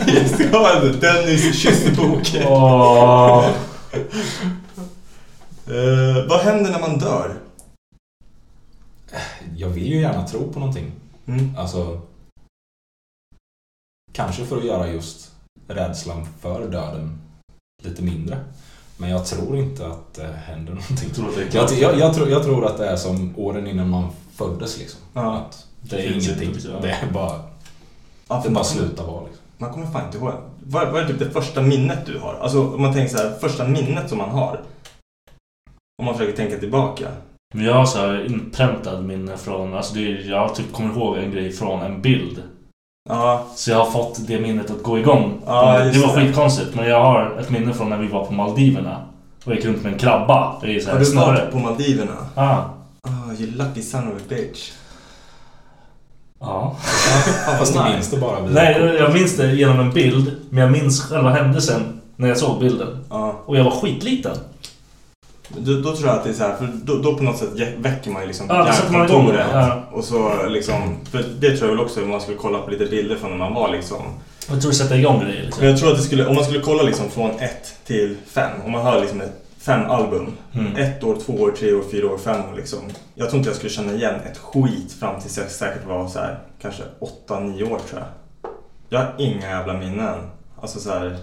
Speaker 3: jag ska ha en Dennis kyssbok.
Speaker 5: Åh.
Speaker 3: Eh, vad händer när man dör?
Speaker 1: Jag vill ju gärna tro på någonting.
Speaker 3: Mm.
Speaker 1: Alltså... Kanske för att göra just rädslan för döden lite mindre. Men jag tror inte att det händer någonting.
Speaker 5: Jag tror att det är
Speaker 1: Jag,
Speaker 5: klart.
Speaker 1: jag, jag, tror, jag tror att det är som åren innan man föddes liksom.
Speaker 3: Ja.
Speaker 1: Att
Speaker 7: Det är ingenting. Det är bara...
Speaker 3: Ja,
Speaker 7: Det bara slutar vara liksom.
Speaker 3: Man kommer fan inte ihåg. Vad, vad är typ det första minnet du har? Alltså om man tänker så här, första minnet som man har. Om man försöker tänka tillbaka.
Speaker 5: Men jag har så här inpräntad minne från, alltså det är, jag typ kommer ihåg en grej från en bild.
Speaker 3: Ja,
Speaker 5: Så jag har fått det minnet att gå igång.
Speaker 3: Ja,
Speaker 5: det
Speaker 3: just
Speaker 5: var
Speaker 3: det.
Speaker 5: skitkonstigt men jag har ett minne från när vi var på Maldiverna. Och gick runt med en krabba i så
Speaker 3: har
Speaker 5: här
Speaker 3: du varit
Speaker 5: snöre.
Speaker 3: på Maldiverna?
Speaker 5: Ah.
Speaker 3: Oh, you lucky son of a bitch.
Speaker 5: Ja.
Speaker 7: Fast du
Speaker 3: nej.
Speaker 7: minns det bara via
Speaker 5: Nej, jag- jag minns det genom en bild. Men jag minns själva händelsen när jag såg bilden.
Speaker 3: Ja.
Speaker 5: Och jag var skitliten.
Speaker 3: Då, då tror jag att det är så här, för då, då på något sätt jä- väcker man ju liksom
Speaker 5: Ja, då sätter man igång det, ja.
Speaker 3: Och så liksom, för det tror jag väl också om man skulle kolla på lite bilder från när man var liksom.
Speaker 5: Jag tror det sätter igång grejer
Speaker 3: Men
Speaker 5: liksom.
Speaker 3: jag tror att det skulle, om man skulle kolla liksom från 1 till 5, om man har liksom ett, fem album. Ett år, två år, tre år, fyra år, fem år liksom. Jag tror inte jag skulle känna igen ett skit fram tills jag säkert var så här, kanske 8-9 år tror jag. Jag har inga jävla minnen. Alltså så här,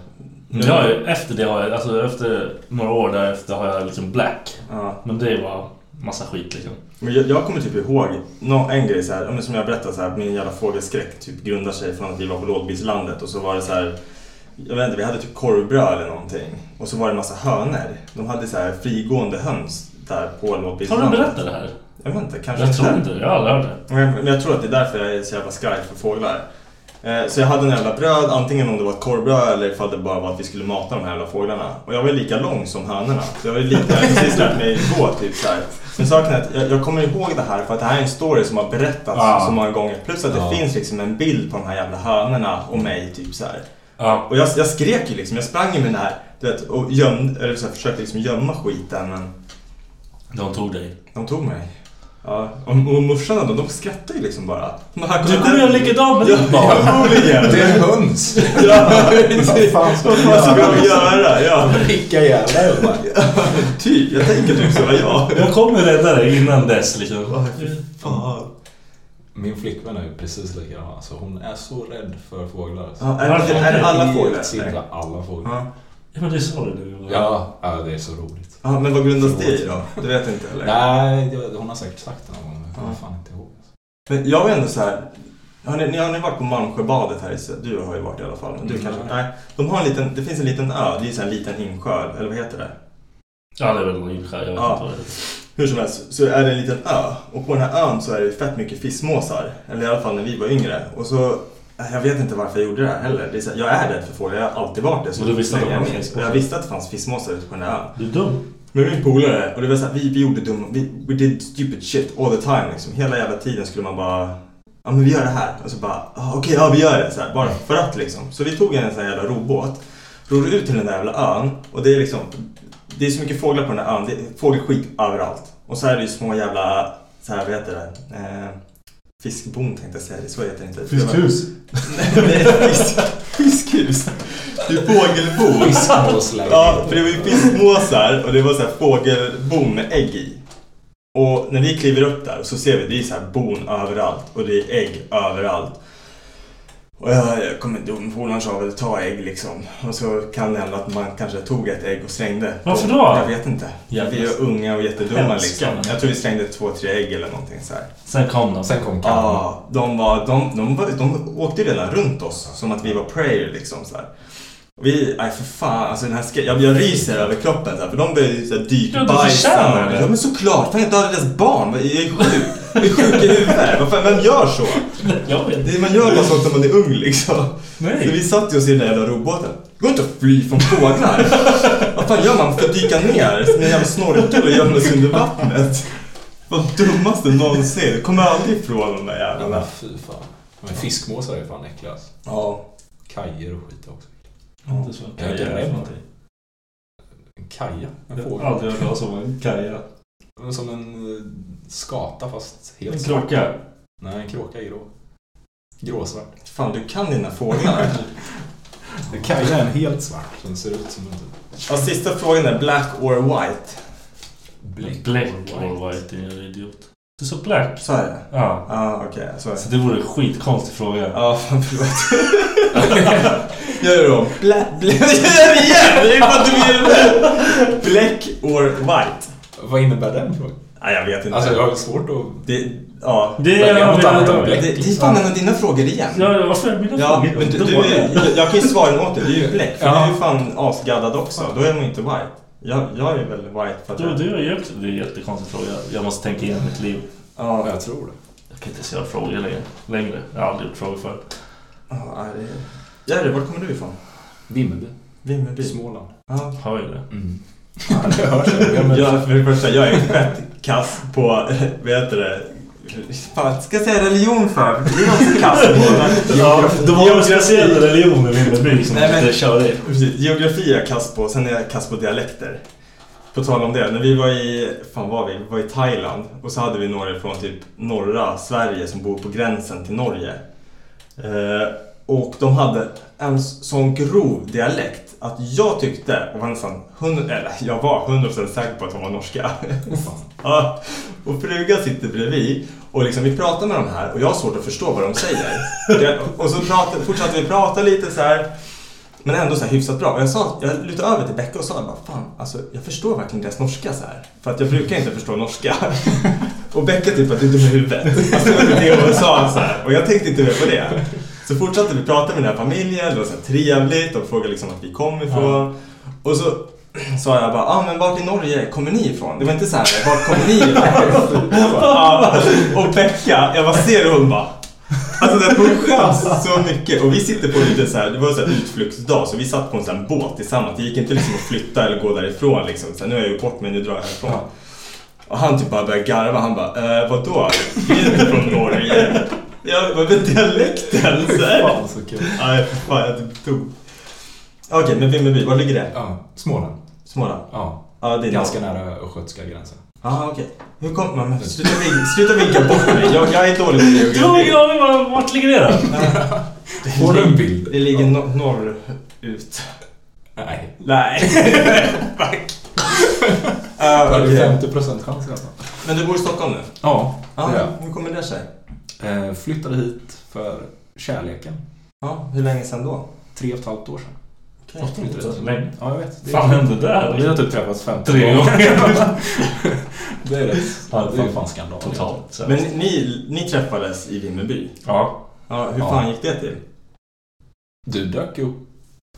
Speaker 3: Mm.
Speaker 5: Jag har ju, efter det har jag, alltså efter några år därefter har jag liksom black.
Speaker 3: ja.
Speaker 5: Men det var massa skit liksom.
Speaker 3: Men jag, jag kommer typ ihåg nå- en grej så här, ja, men som jag berättade så här, min jävla fågelskräck typ grundar sig från att vi var på lågbilslandet och så var det så här, jag vet inte, vi hade typ korvbröd eller någonting och så var det en massa hönor. De hade så här frigående höns där på
Speaker 5: Har
Speaker 3: lågbilslandet.
Speaker 5: du berättat det här?
Speaker 3: Jag vet inte, kanske
Speaker 5: Jag tror inte det. Jag har aldrig hört det.
Speaker 3: Men men jag tror att det är därför jag är så jävla skraj för fåglar. Eh, Så jag hade en jävla bröd, antingen om det var ett korvbröd eller ifall det bara var att vi skulle mata de här jävla fåglarna. Och jag var ju lika lång som hönorna. Så jag var ju lika, jag hade precis lärt mig gå typ så här. Men saken är att jag, jag kommer ihåg det här för att det här är en story som har berättats
Speaker 5: Ja.
Speaker 3: så många gånger. Plus att det
Speaker 7: Ja.
Speaker 3: finns liksom en bild på de här jävla hönorna och mig typ så här.
Speaker 5: Ja.
Speaker 3: Och jag, jag skrek ju liksom, jag sprang ju med den här du vet, och gömde, eller så här, försökte liksom gömma skiten men
Speaker 5: De tog dig.
Speaker 3: de tog mig. Ja, och, och morsorna då, de skrattade ju liksom bara. Men här
Speaker 5: Du kommer göra likadant med ditt barn.
Speaker 3: Förmodligen!
Speaker 7: Det är en höns!
Speaker 3: Ja,
Speaker 7: Vad fan ska
Speaker 3: vad ska de göra? Ja,
Speaker 7: Pricka ihjäl dig.
Speaker 3: typ. Jag tänker typ så, ja.
Speaker 5: Jag kommer rädda dig innan dess liksom.
Speaker 3: Fan.
Speaker 7: Min flickvän är ju precis likadan. Alltså, hon är så rädd för fåglar.
Speaker 3: Ja, är, det, är det alla fåglar?
Speaker 7: Simla alla fåglar.
Speaker 3: Ja.
Speaker 5: Ja men det sa du nu.
Speaker 7: Ja, ja, det är så roligt.
Speaker 3: ja, men vad grundas det i då? Du vet inte eller?
Speaker 7: Nej, det- hon har säkert sagt det någon gång. men Jag kommer fan inte ihåg.
Speaker 3: Men jag är ändå så här. Har ni, ni har ni varit på Malmsjöbadet här i Sö- Du har ju varit i alla fall. Men du
Speaker 7: Mm.
Speaker 3: kanske, nej, de har en liten, det finns en liten ö. Det är ju så här en liten insjö, eller vad heter det?
Speaker 5: Ja det är väl någon inskär. Jag vet
Speaker 3: Ja.
Speaker 5: inte vad det är.
Speaker 3: Hur som helst så är det en liten ö och på den här ön så är det ju fett mycket fiskmåsar. Eller i alla fall när vi var yngre. Och så, jag vet inte varför jag gjorde det här heller. Det är så här, jag är rädd för fåglar, jag har alltid varit det. Så
Speaker 5: Och du visste att det
Speaker 3: länge jag
Speaker 5: fanns
Speaker 3: minns. Och
Speaker 5: fiskmåsar?
Speaker 3: jag visste att det fanns fiskmåsar ute på den här ön.
Speaker 5: Du är dum.
Speaker 3: Men min polare, och det var så här, vi, vi gjorde dumma, vi, we did stupid shit all the time liksom. Hela jävla tiden skulle man bara, ja men vi gör det här. Och så bara, ah, okej, ja vi gör det. Så här, bara för att liksom. Så vi tog en sån här jävla robåt, rodde ut till den där jävla ön. Och det är liksom, det är så mycket fåglar på den här ön. Det är fågelskit överallt. Och så är det ju små jävla, så här, vad heter det? Eh, fiskbon tänkte jag säga, det så heter det inte. Nej, det är fisk, fiskhus. Det är fågelbo.
Speaker 7: Fiskmålslägenhet.
Speaker 3: Ja, för det var ju fiskmåsar och det var så här fågelbo med ägg i. Och när vi kliver upp där så ser vi det är så här bon överallt och det är ägg överallt. Och jag, jag kommer inte ihåg, polaren sa väl ta ägg liksom. Och så kan det hända att man kanske tog ett ägg och srängde.
Speaker 5: Varför då?
Speaker 3: Jag vet inte.
Speaker 5: Jävlar.
Speaker 3: Vi är unga och jättedumma liksom.
Speaker 5: Hemska.
Speaker 3: Jag tror vi slängde två, tre ägg eller någonting så här.
Speaker 5: Sen kom de.
Speaker 7: Sen kom Kalle.
Speaker 3: Ja, de, var, de, de, var, de åkte ju redan runt oss som att vi var prayer liksom så här. Och Vi, nej för fan, alltså den här skrä- jag, jag ryser över kroppen så här, för de började ju så här
Speaker 5: Ja, du
Speaker 3: dykbajsa.
Speaker 5: förtjänar det.
Speaker 3: Ja men såklart, fan jag dödade deras barn, jag är sjuk. Jag är sjuk i huvudet, vad fan, vem gör så?
Speaker 5: Jag vet
Speaker 3: Det, man gör bara sånt när man är ung liksom.
Speaker 5: Nej.
Speaker 3: Så vi satt ju oss i den där jävla roboten. Gå inte och fly från fåglar. Vad fan gör man för att dyka ner med en jävla snorkel och gömma sig under vattnet? Vad dummaste någonsin. Kommer aldrig ifrån de där
Speaker 7: Ja,
Speaker 3: jävlarna.
Speaker 7: men fy fan. Men fiskmåsar är ju fan äckliga alltså.
Speaker 3: Ja.
Speaker 7: Kajer och skit är också.
Speaker 5: inte. så.
Speaker 7: Jag är
Speaker 5: Kaja
Speaker 7: rädd.
Speaker 5: för någonting.
Speaker 7: En kaja? En
Speaker 5: Jag har
Speaker 7: fågel?
Speaker 5: aldrig hört talas om en kaja.
Speaker 7: Som en eh, skata fast helt
Speaker 5: En
Speaker 7: svart.
Speaker 5: kråka.
Speaker 7: Nej, en kråka är grå. Gråsvart.
Speaker 3: Fan, du kan dina fåglar.
Speaker 7: En kaja är en helt svart. Den ser ut som en typ
Speaker 3: ja, sista frågan är black or white.
Speaker 7: bläck.
Speaker 5: Black or white, din jävla idiot. Du sa black.
Speaker 3: Så är det?
Speaker 5: Ja.
Speaker 3: Ja, ah, okej. Så är det.
Speaker 5: Så det vore en skitkonstig fråga.
Speaker 3: Ja, fan förlåt. Gör det om. Black, black. Gör det igen! Det är ju bara du gör det. Black or white.
Speaker 7: Vad innebär den frågan?
Speaker 3: Nej, jag vet inte.
Speaker 5: Alltså, jag har svårt att...
Speaker 3: Det, ja.
Speaker 6: Det
Speaker 5: Välja
Speaker 6: är-
Speaker 5: något annat
Speaker 3: det,
Speaker 5: objekt.
Speaker 3: det är fan en av dina frågor igen.
Speaker 6: Ja, varför är mina
Speaker 3: Ja,
Speaker 6: frågor
Speaker 3: men du, du,
Speaker 6: dåliga?
Speaker 3: jag, jag kan ju svara emot dig. Du är ju bläck. För
Speaker 5: Ja.
Speaker 3: du är ju fan asgaddad också. Då är man ju inte white. Jag, jag är väl white för att
Speaker 6: Du,
Speaker 3: jag...
Speaker 6: du har hjälpt. Det är en jättekonstig fråga. Jag måste tänka igenom mitt liv.
Speaker 3: Ja,
Speaker 5: Jag tror det.
Speaker 6: Jag kan inte ens göra frågor längre. längre. Jag har aldrig gjort frågor förut.
Speaker 3: ja, det är- Jerry, var kommer du ifrån?
Speaker 5: Vimmerby.
Speaker 3: Vimmerby.
Speaker 5: Småland.
Speaker 3: Ja.
Speaker 6: Hör ju det.
Speaker 5: Det hörs. Jag menar-
Speaker 3: Jag, för det första, jag är fett kass på, vet du det? Fan, ska jag säga religion för? Det är också kass på.
Speaker 6: Ja, de har en speciell religion i Vimmerby som
Speaker 3: Nej, men-
Speaker 6: inte kör det.
Speaker 3: Precis, geografi är jag kass på, sen är jag kass på dialekter. På tal om det, när vi var i, fan var vi? Vi var i Thailand och så hade vi några från typ norra Sverige som bor på gränsen till Norge. Eh, och de hade en s- sån grov dialekt att jag tyckte, och var nästan 100, eller jag var 100% säker på att de var norska. ja, och frugan sitter bredvid och liksom vi pratar med de här och jag har svårt att förstå vad de säger. Det, och så pratade, fortsatte vi prata lite så här. Men ändå så här hyfsat bra. Och jag, sa, jag lutade över till Becka och sa bara, fan, alltså, jag förstår verkligen deras norska så här. För att jag brukar inte förstå norska. och Becka typ att du är dum i huvudet. Alltså, det var det hon sa så här. Och jag tänkte inte mer på det. Så fortsatte vi prata med den här familjen, det var så här trevligt. De frågade liksom vart vi kom ifrån. Och så sa jag bara, ah, men vart i Norge kommer ni ifrån? Det var inte så här, vart kommer ni ifrån? Ja, och Becka, jag bara ser hur hon bara, Alltså den pushas så mycket. Och vi sitter på lite så här, det var en så här utflyktsdag så vi satt på en sån här båt tillsammans. Det gick inte liksom att flytta eller gå därifrån liksom. Så här, nu har jag gjort bort mig, nu drar jag härifrån. Och han typ bara började garva. Han bara, eh, vadå? Vi är inte från Norge. Jag bara, men dialekten så här.
Speaker 5: Fan, så kul.
Speaker 3: Nej, fy fan jag typ dog. Okej, men Vimmerby, var ligger det?
Speaker 5: Ja, Småland.
Speaker 3: Småland?
Speaker 5: Ja.
Speaker 3: Ja, det är
Speaker 5: Ganska
Speaker 3: det.
Speaker 5: nära östgötska gränsen. Mm.
Speaker 3: Ja, okej. Hur kom... Men, men, sluta, vinka, sluta vinka bort mig. Jag, jag är dålig på geografi.
Speaker 6: Du har ingen aning var- vart ligger det då?
Speaker 5: Får du en bild?
Speaker 3: Det ligger no- norr ut.
Speaker 5: Nej.
Speaker 3: Nej. Fuck.
Speaker 5: Då
Speaker 3: Uh,
Speaker 5: har du 50% chans i alla fall.
Speaker 3: Men du bor i Stockholm nu?
Speaker 5: Ja, det
Speaker 3: Ja.
Speaker 5: gör jag.
Speaker 3: Hur kommer det sig?
Speaker 5: Eh, Flyttade hit för kärleken.
Speaker 3: Ja, hur länge sedan då?
Speaker 5: Tre och ett halvt år sedan.
Speaker 3: Okej.
Speaker 5: Fattar du inte det?
Speaker 6: Så länge.
Speaker 5: Ja, jag vet.
Speaker 6: Fan, hände där?
Speaker 5: Vi har typ träffats 15
Speaker 6: Tre gånger.
Speaker 5: det är rätt.
Speaker 6: Ja,
Speaker 5: det är ju fan skandal.
Speaker 6: Totalt. så.
Speaker 3: Men ni, ni träffades i Vimmerby?
Speaker 6: Ja.
Speaker 3: Ja, hur
Speaker 5: Ja.
Speaker 3: fan gick det till?
Speaker 5: Du dök upp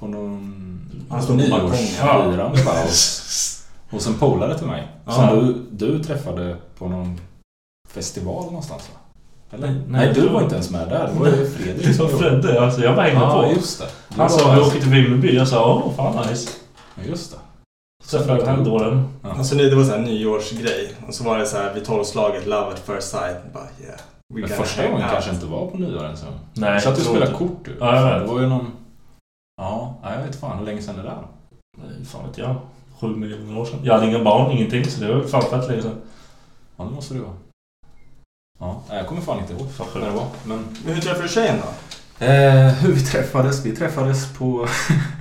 Speaker 5: på någon
Speaker 3: Han stod på balkongen.
Speaker 5: nyårsfirande bara hos, hos en polare till mig.
Speaker 3: Ja.
Speaker 5: Som du, du träffade på någon festival någonstans va? Eller?
Speaker 6: Nej,
Speaker 5: Nej,
Speaker 6: nej,
Speaker 5: du
Speaker 6: jag
Speaker 5: var
Speaker 6: tror-
Speaker 5: inte ens med där. Det var ju Fredrik.
Speaker 6: Det sa Fredde. Alltså, jag bara hängde
Speaker 5: Ja,
Speaker 6: på.
Speaker 5: just det. Du
Speaker 6: Han
Speaker 5: var-
Speaker 6: sa vi åker till Vimmerby. Jag sa åh fan nice.
Speaker 5: Ja, just det.
Speaker 6: Så jag frågade han dåren.
Speaker 3: Alltså det det var så här nyårsgrej. Och så var det så här vid tolvslaget, love at first sight. Bara yeah. we
Speaker 5: Men
Speaker 3: gotta
Speaker 5: första
Speaker 3: hang
Speaker 5: gången
Speaker 3: out.
Speaker 5: kanske inte var på nyår ens.
Speaker 6: Nej,
Speaker 5: Du satt och
Speaker 6: jag tror
Speaker 5: spelade
Speaker 6: inte.
Speaker 5: kort du.
Speaker 6: Ja, jag vet.
Speaker 5: Det var ju någon... Ja, nej, jag vet fan hur länge sedan det där då?
Speaker 6: Nej, fan vet jag. Sju miljoner år sedan. Jag hade inga barn, ingenting. Så det var fan fett länge sedan.
Speaker 5: Ja, det måste det vara. Ja, nej, jag kommer fan inte ihåg
Speaker 6: Fan, sjukt.
Speaker 5: när det var. Men
Speaker 3: Men hur träffade du tjejen då?
Speaker 5: Eh, hur vi träffades? Vi träffades på,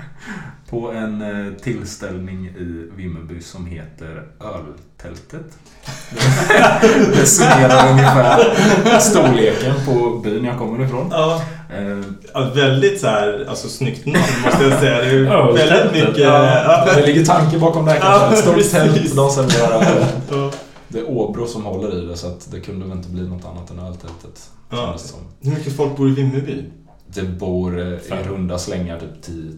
Speaker 5: på en eh, tillställning i Vimmerby som heter Öltältet. Det summerar ungefär storleken på byn jag kommer ifrån.
Speaker 3: Ja.
Speaker 5: Eh,
Speaker 3: ja väldigt så här, alltså snyggt namn måste jag säga. Det är ju
Speaker 6: Ja,
Speaker 3: väldigt
Speaker 6: stämt.
Speaker 3: mycket...
Speaker 5: ja, det ligger tanke bakom det här kanske. Ett stort
Speaker 3: precis.
Speaker 5: tält, de serverar öl.
Speaker 3: Ja.
Speaker 5: Det är Åbro som håller i det så att det kunde väl inte bli något annat än öltältet.
Speaker 3: Ja.
Speaker 5: kändes det som.
Speaker 3: Hur mycket folk bor i Vimmerby?
Speaker 5: Det bor eh, i
Speaker 6: Fan.
Speaker 5: runda slängar typ 10 000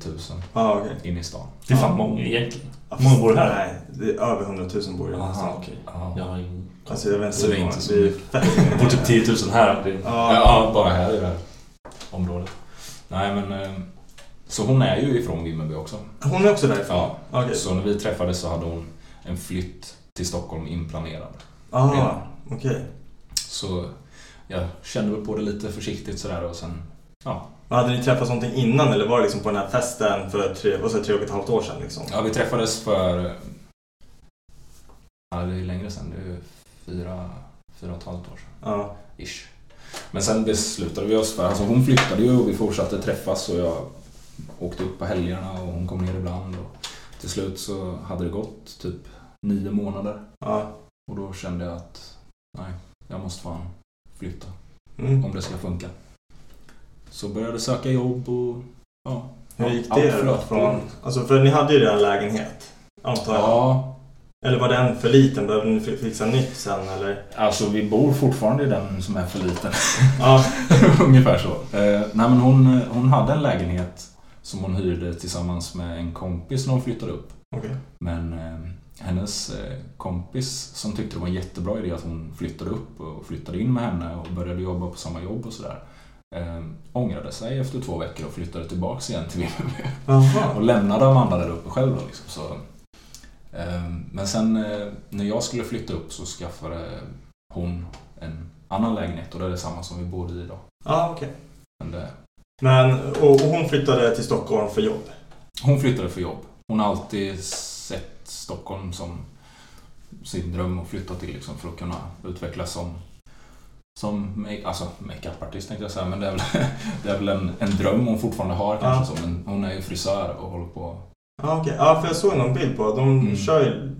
Speaker 3: Ja, okej.
Speaker 5: inne i stan.
Speaker 6: Det är fan många egentligen. Hur många bor det här?
Speaker 3: Nej, det är över 100 000 bor i den här stan.
Speaker 6: Alltså, okej.
Speaker 5: Ja.
Speaker 6: Jag har ingen...
Speaker 3: Alltså jag vet inte
Speaker 5: Så
Speaker 3: hur
Speaker 5: det är
Speaker 3: många.
Speaker 5: inte så
Speaker 3: är
Speaker 5: mycket.
Speaker 3: fett
Speaker 6: Det bor typ 10 000 här. Det är...
Speaker 3: Ja.
Speaker 5: Ja, bara här i det här området. Nej men... eh, Så hon är ju ifrån Vimmerby också.
Speaker 3: Hon är också därifrån?
Speaker 5: Ja.
Speaker 3: Okej.
Speaker 5: Så när vi träffades så hade hon en flytt till Stockholm inplanerad.
Speaker 3: Ah,
Speaker 5: redan.
Speaker 3: okej.
Speaker 5: Så jag kände väl på det lite försiktigt sådär och sen... Ja,
Speaker 3: Hade ni träffats någonting innan eller var det liksom på den här festen för tre, vad sa jag, tre och ett halvt år sedan? Liksom?
Speaker 5: ja vi träffades för... Ja, det är ju längre sedan. Det är ju fyra, fyra och ett halvt år sedan.
Speaker 3: Ja.
Speaker 5: Ish. Men sen beslutade vi oss för, alltså hon flyttade ju och vi fortsatte träffas och jag åkte upp på helgerna och hon kom ner ibland. Och till slut så hade det gått typ nio månader
Speaker 3: ja.
Speaker 5: och då kände jag att nej, jag måste fan flytta
Speaker 3: Mm.
Speaker 5: om det ska funka. Så började jag söka jobb och ja.
Speaker 3: Hur gick
Speaker 5: allt
Speaker 3: det då?
Speaker 5: flöt på.
Speaker 3: Från, alltså för ni hade ju redan lägenhet, antar jag?
Speaker 5: Ja,
Speaker 3: Eller var den för liten? Behövde ni fi- fixa nytt sen eller?
Speaker 5: Alltså vi bor fortfarande i den som är för liten.
Speaker 3: Ja.
Speaker 5: Ungefär så. Eh, nej men hon, hon hade en lägenhet som hon hyrde tillsammans med en kompis när hon flyttade upp.
Speaker 3: Okej.
Speaker 5: Men eh, hennes eh, kompis som tyckte det var en jättebra idé att hon flyttade upp och flyttade in med henne och började jobba på samma jobb och sådär. Eh, ångrade sig efter två veckor och flyttade tillbaks igen till Vimmerby.
Speaker 3: Jaha.
Speaker 5: Och lämnade Amanda där uppe själv då liksom. Så, eh, men sen eh, när jag skulle flytta upp så skaffade hon en annan lägenhet och det är det samma som vi bor i idag.
Speaker 3: Ja, okej.
Speaker 5: Men det,
Speaker 3: Men, och, och hon flyttade till Stockholm för jobb?
Speaker 5: hon flyttade för jobb. Hon har alltid sett Stockholm som sin dröm att flytta till liksom, för att kunna utvecklas som som make, alltså makeup-artist tänkte jag säga, men det är väl, det är väl en, en dröm hon fortfarande har kanske.
Speaker 3: Ja.
Speaker 5: Så, men hon är ju frisör och håller på
Speaker 3: Ja, okej. Ja, för jag såg någon bild på De
Speaker 5: Mm.
Speaker 3: kör ju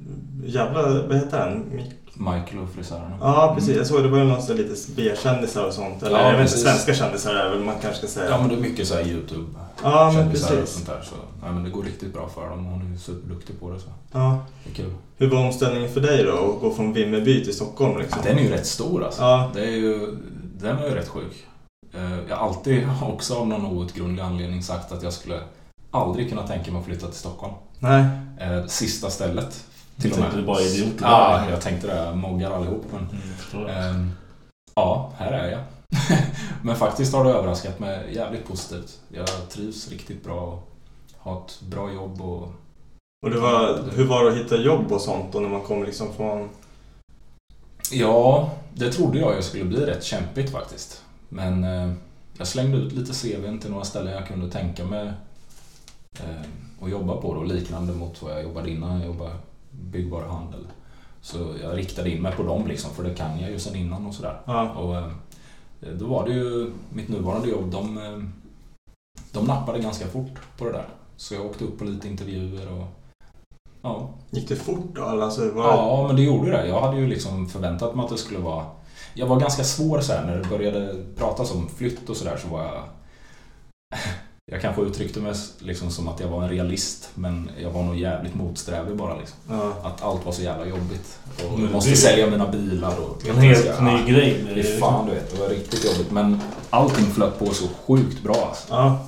Speaker 3: jävla... Vad heter den? Mik-
Speaker 5: Michael och frisörerna.
Speaker 3: Ja, precis.
Speaker 5: Mm.
Speaker 3: Jag såg det var ju någon sån lite B-kändisar och sånt. Eller
Speaker 5: Ja,
Speaker 3: jag vet inte,
Speaker 5: precis.
Speaker 3: svenska kändisar är väl man kanske ska säga.
Speaker 5: Ja men det är mycket så här youtube
Speaker 3: Ja, men
Speaker 5: kändisar och
Speaker 3: precis.
Speaker 5: sånt där. Så, nej, men det går riktigt bra för dem och hon är ju superduktig på det. Så.
Speaker 3: Ja.
Speaker 5: Det är kul.
Speaker 3: Hur var omställningen för dig då? Att gå från Vimmerby till Stockholm liksom?
Speaker 5: Den är ju rätt stor alltså.
Speaker 3: Ja.
Speaker 5: Det är ju, den är ju rätt sjuk. Eh, Jag har alltid också av någon outgrundlig anledning sagt att jag skulle aldrig kunna tänka mig att flytta till Stockholm.
Speaker 3: Nej.
Speaker 5: Eh, Sista stället. Till
Speaker 6: Jag
Speaker 5: och med.
Speaker 6: tänkte bara idiot.
Speaker 5: Ja, jag tänkte det. Moggar allihop. Men...
Speaker 6: Mm, jag tror det.
Speaker 5: Ehm, ja, här är jag. Men faktiskt har det överraskat mig jävligt positivt. Jag trivs riktigt bra och har ett bra jobb och...
Speaker 3: Och det var, hur var det att hitta jobb och sånt då när man kom liksom från...
Speaker 5: Ja, det trodde jag ju skulle bli rätt kämpigt faktiskt. Men eh, jag slängde ut lite CVn till några ställen jag kunde tänka mig eh, att jobba på då, liknande mot vad jag jobbade innan. Jag jobbade byggvaruhandel. Så jag riktade in mig på dem liksom, för det kan jag ju sedan innan och sådär.
Speaker 3: Ja.
Speaker 5: Och eh, då var det ju mitt nuvarande jobb, de, eh, de nappade ganska fort på det där. Så jag åkte upp på lite intervjuer och ja,
Speaker 3: Gick det fort då? eller? Alltså, var...
Speaker 5: ja men det gjorde det. Jag hade ju liksom förväntat mig att det skulle vara... Jag var ganska svår så här när det började pratas om flytt och sådär så var jag... Jag kanske uttryckte mig liksom som att jag var en realist men jag var nog jävligt motsträvig bara liksom.
Speaker 3: Ja.
Speaker 5: Att allt var så jävla jobbigt. Och
Speaker 6: Men
Speaker 5: jag måste
Speaker 6: det-
Speaker 5: sälja mina bilar och...
Speaker 6: En helt
Speaker 5: Ja.
Speaker 6: ny grej.
Speaker 5: Det är
Speaker 3: liksom.
Speaker 5: fan du vet, det var riktigt jobbigt. Men allting flöt på så sjukt bra alltså.
Speaker 3: ja.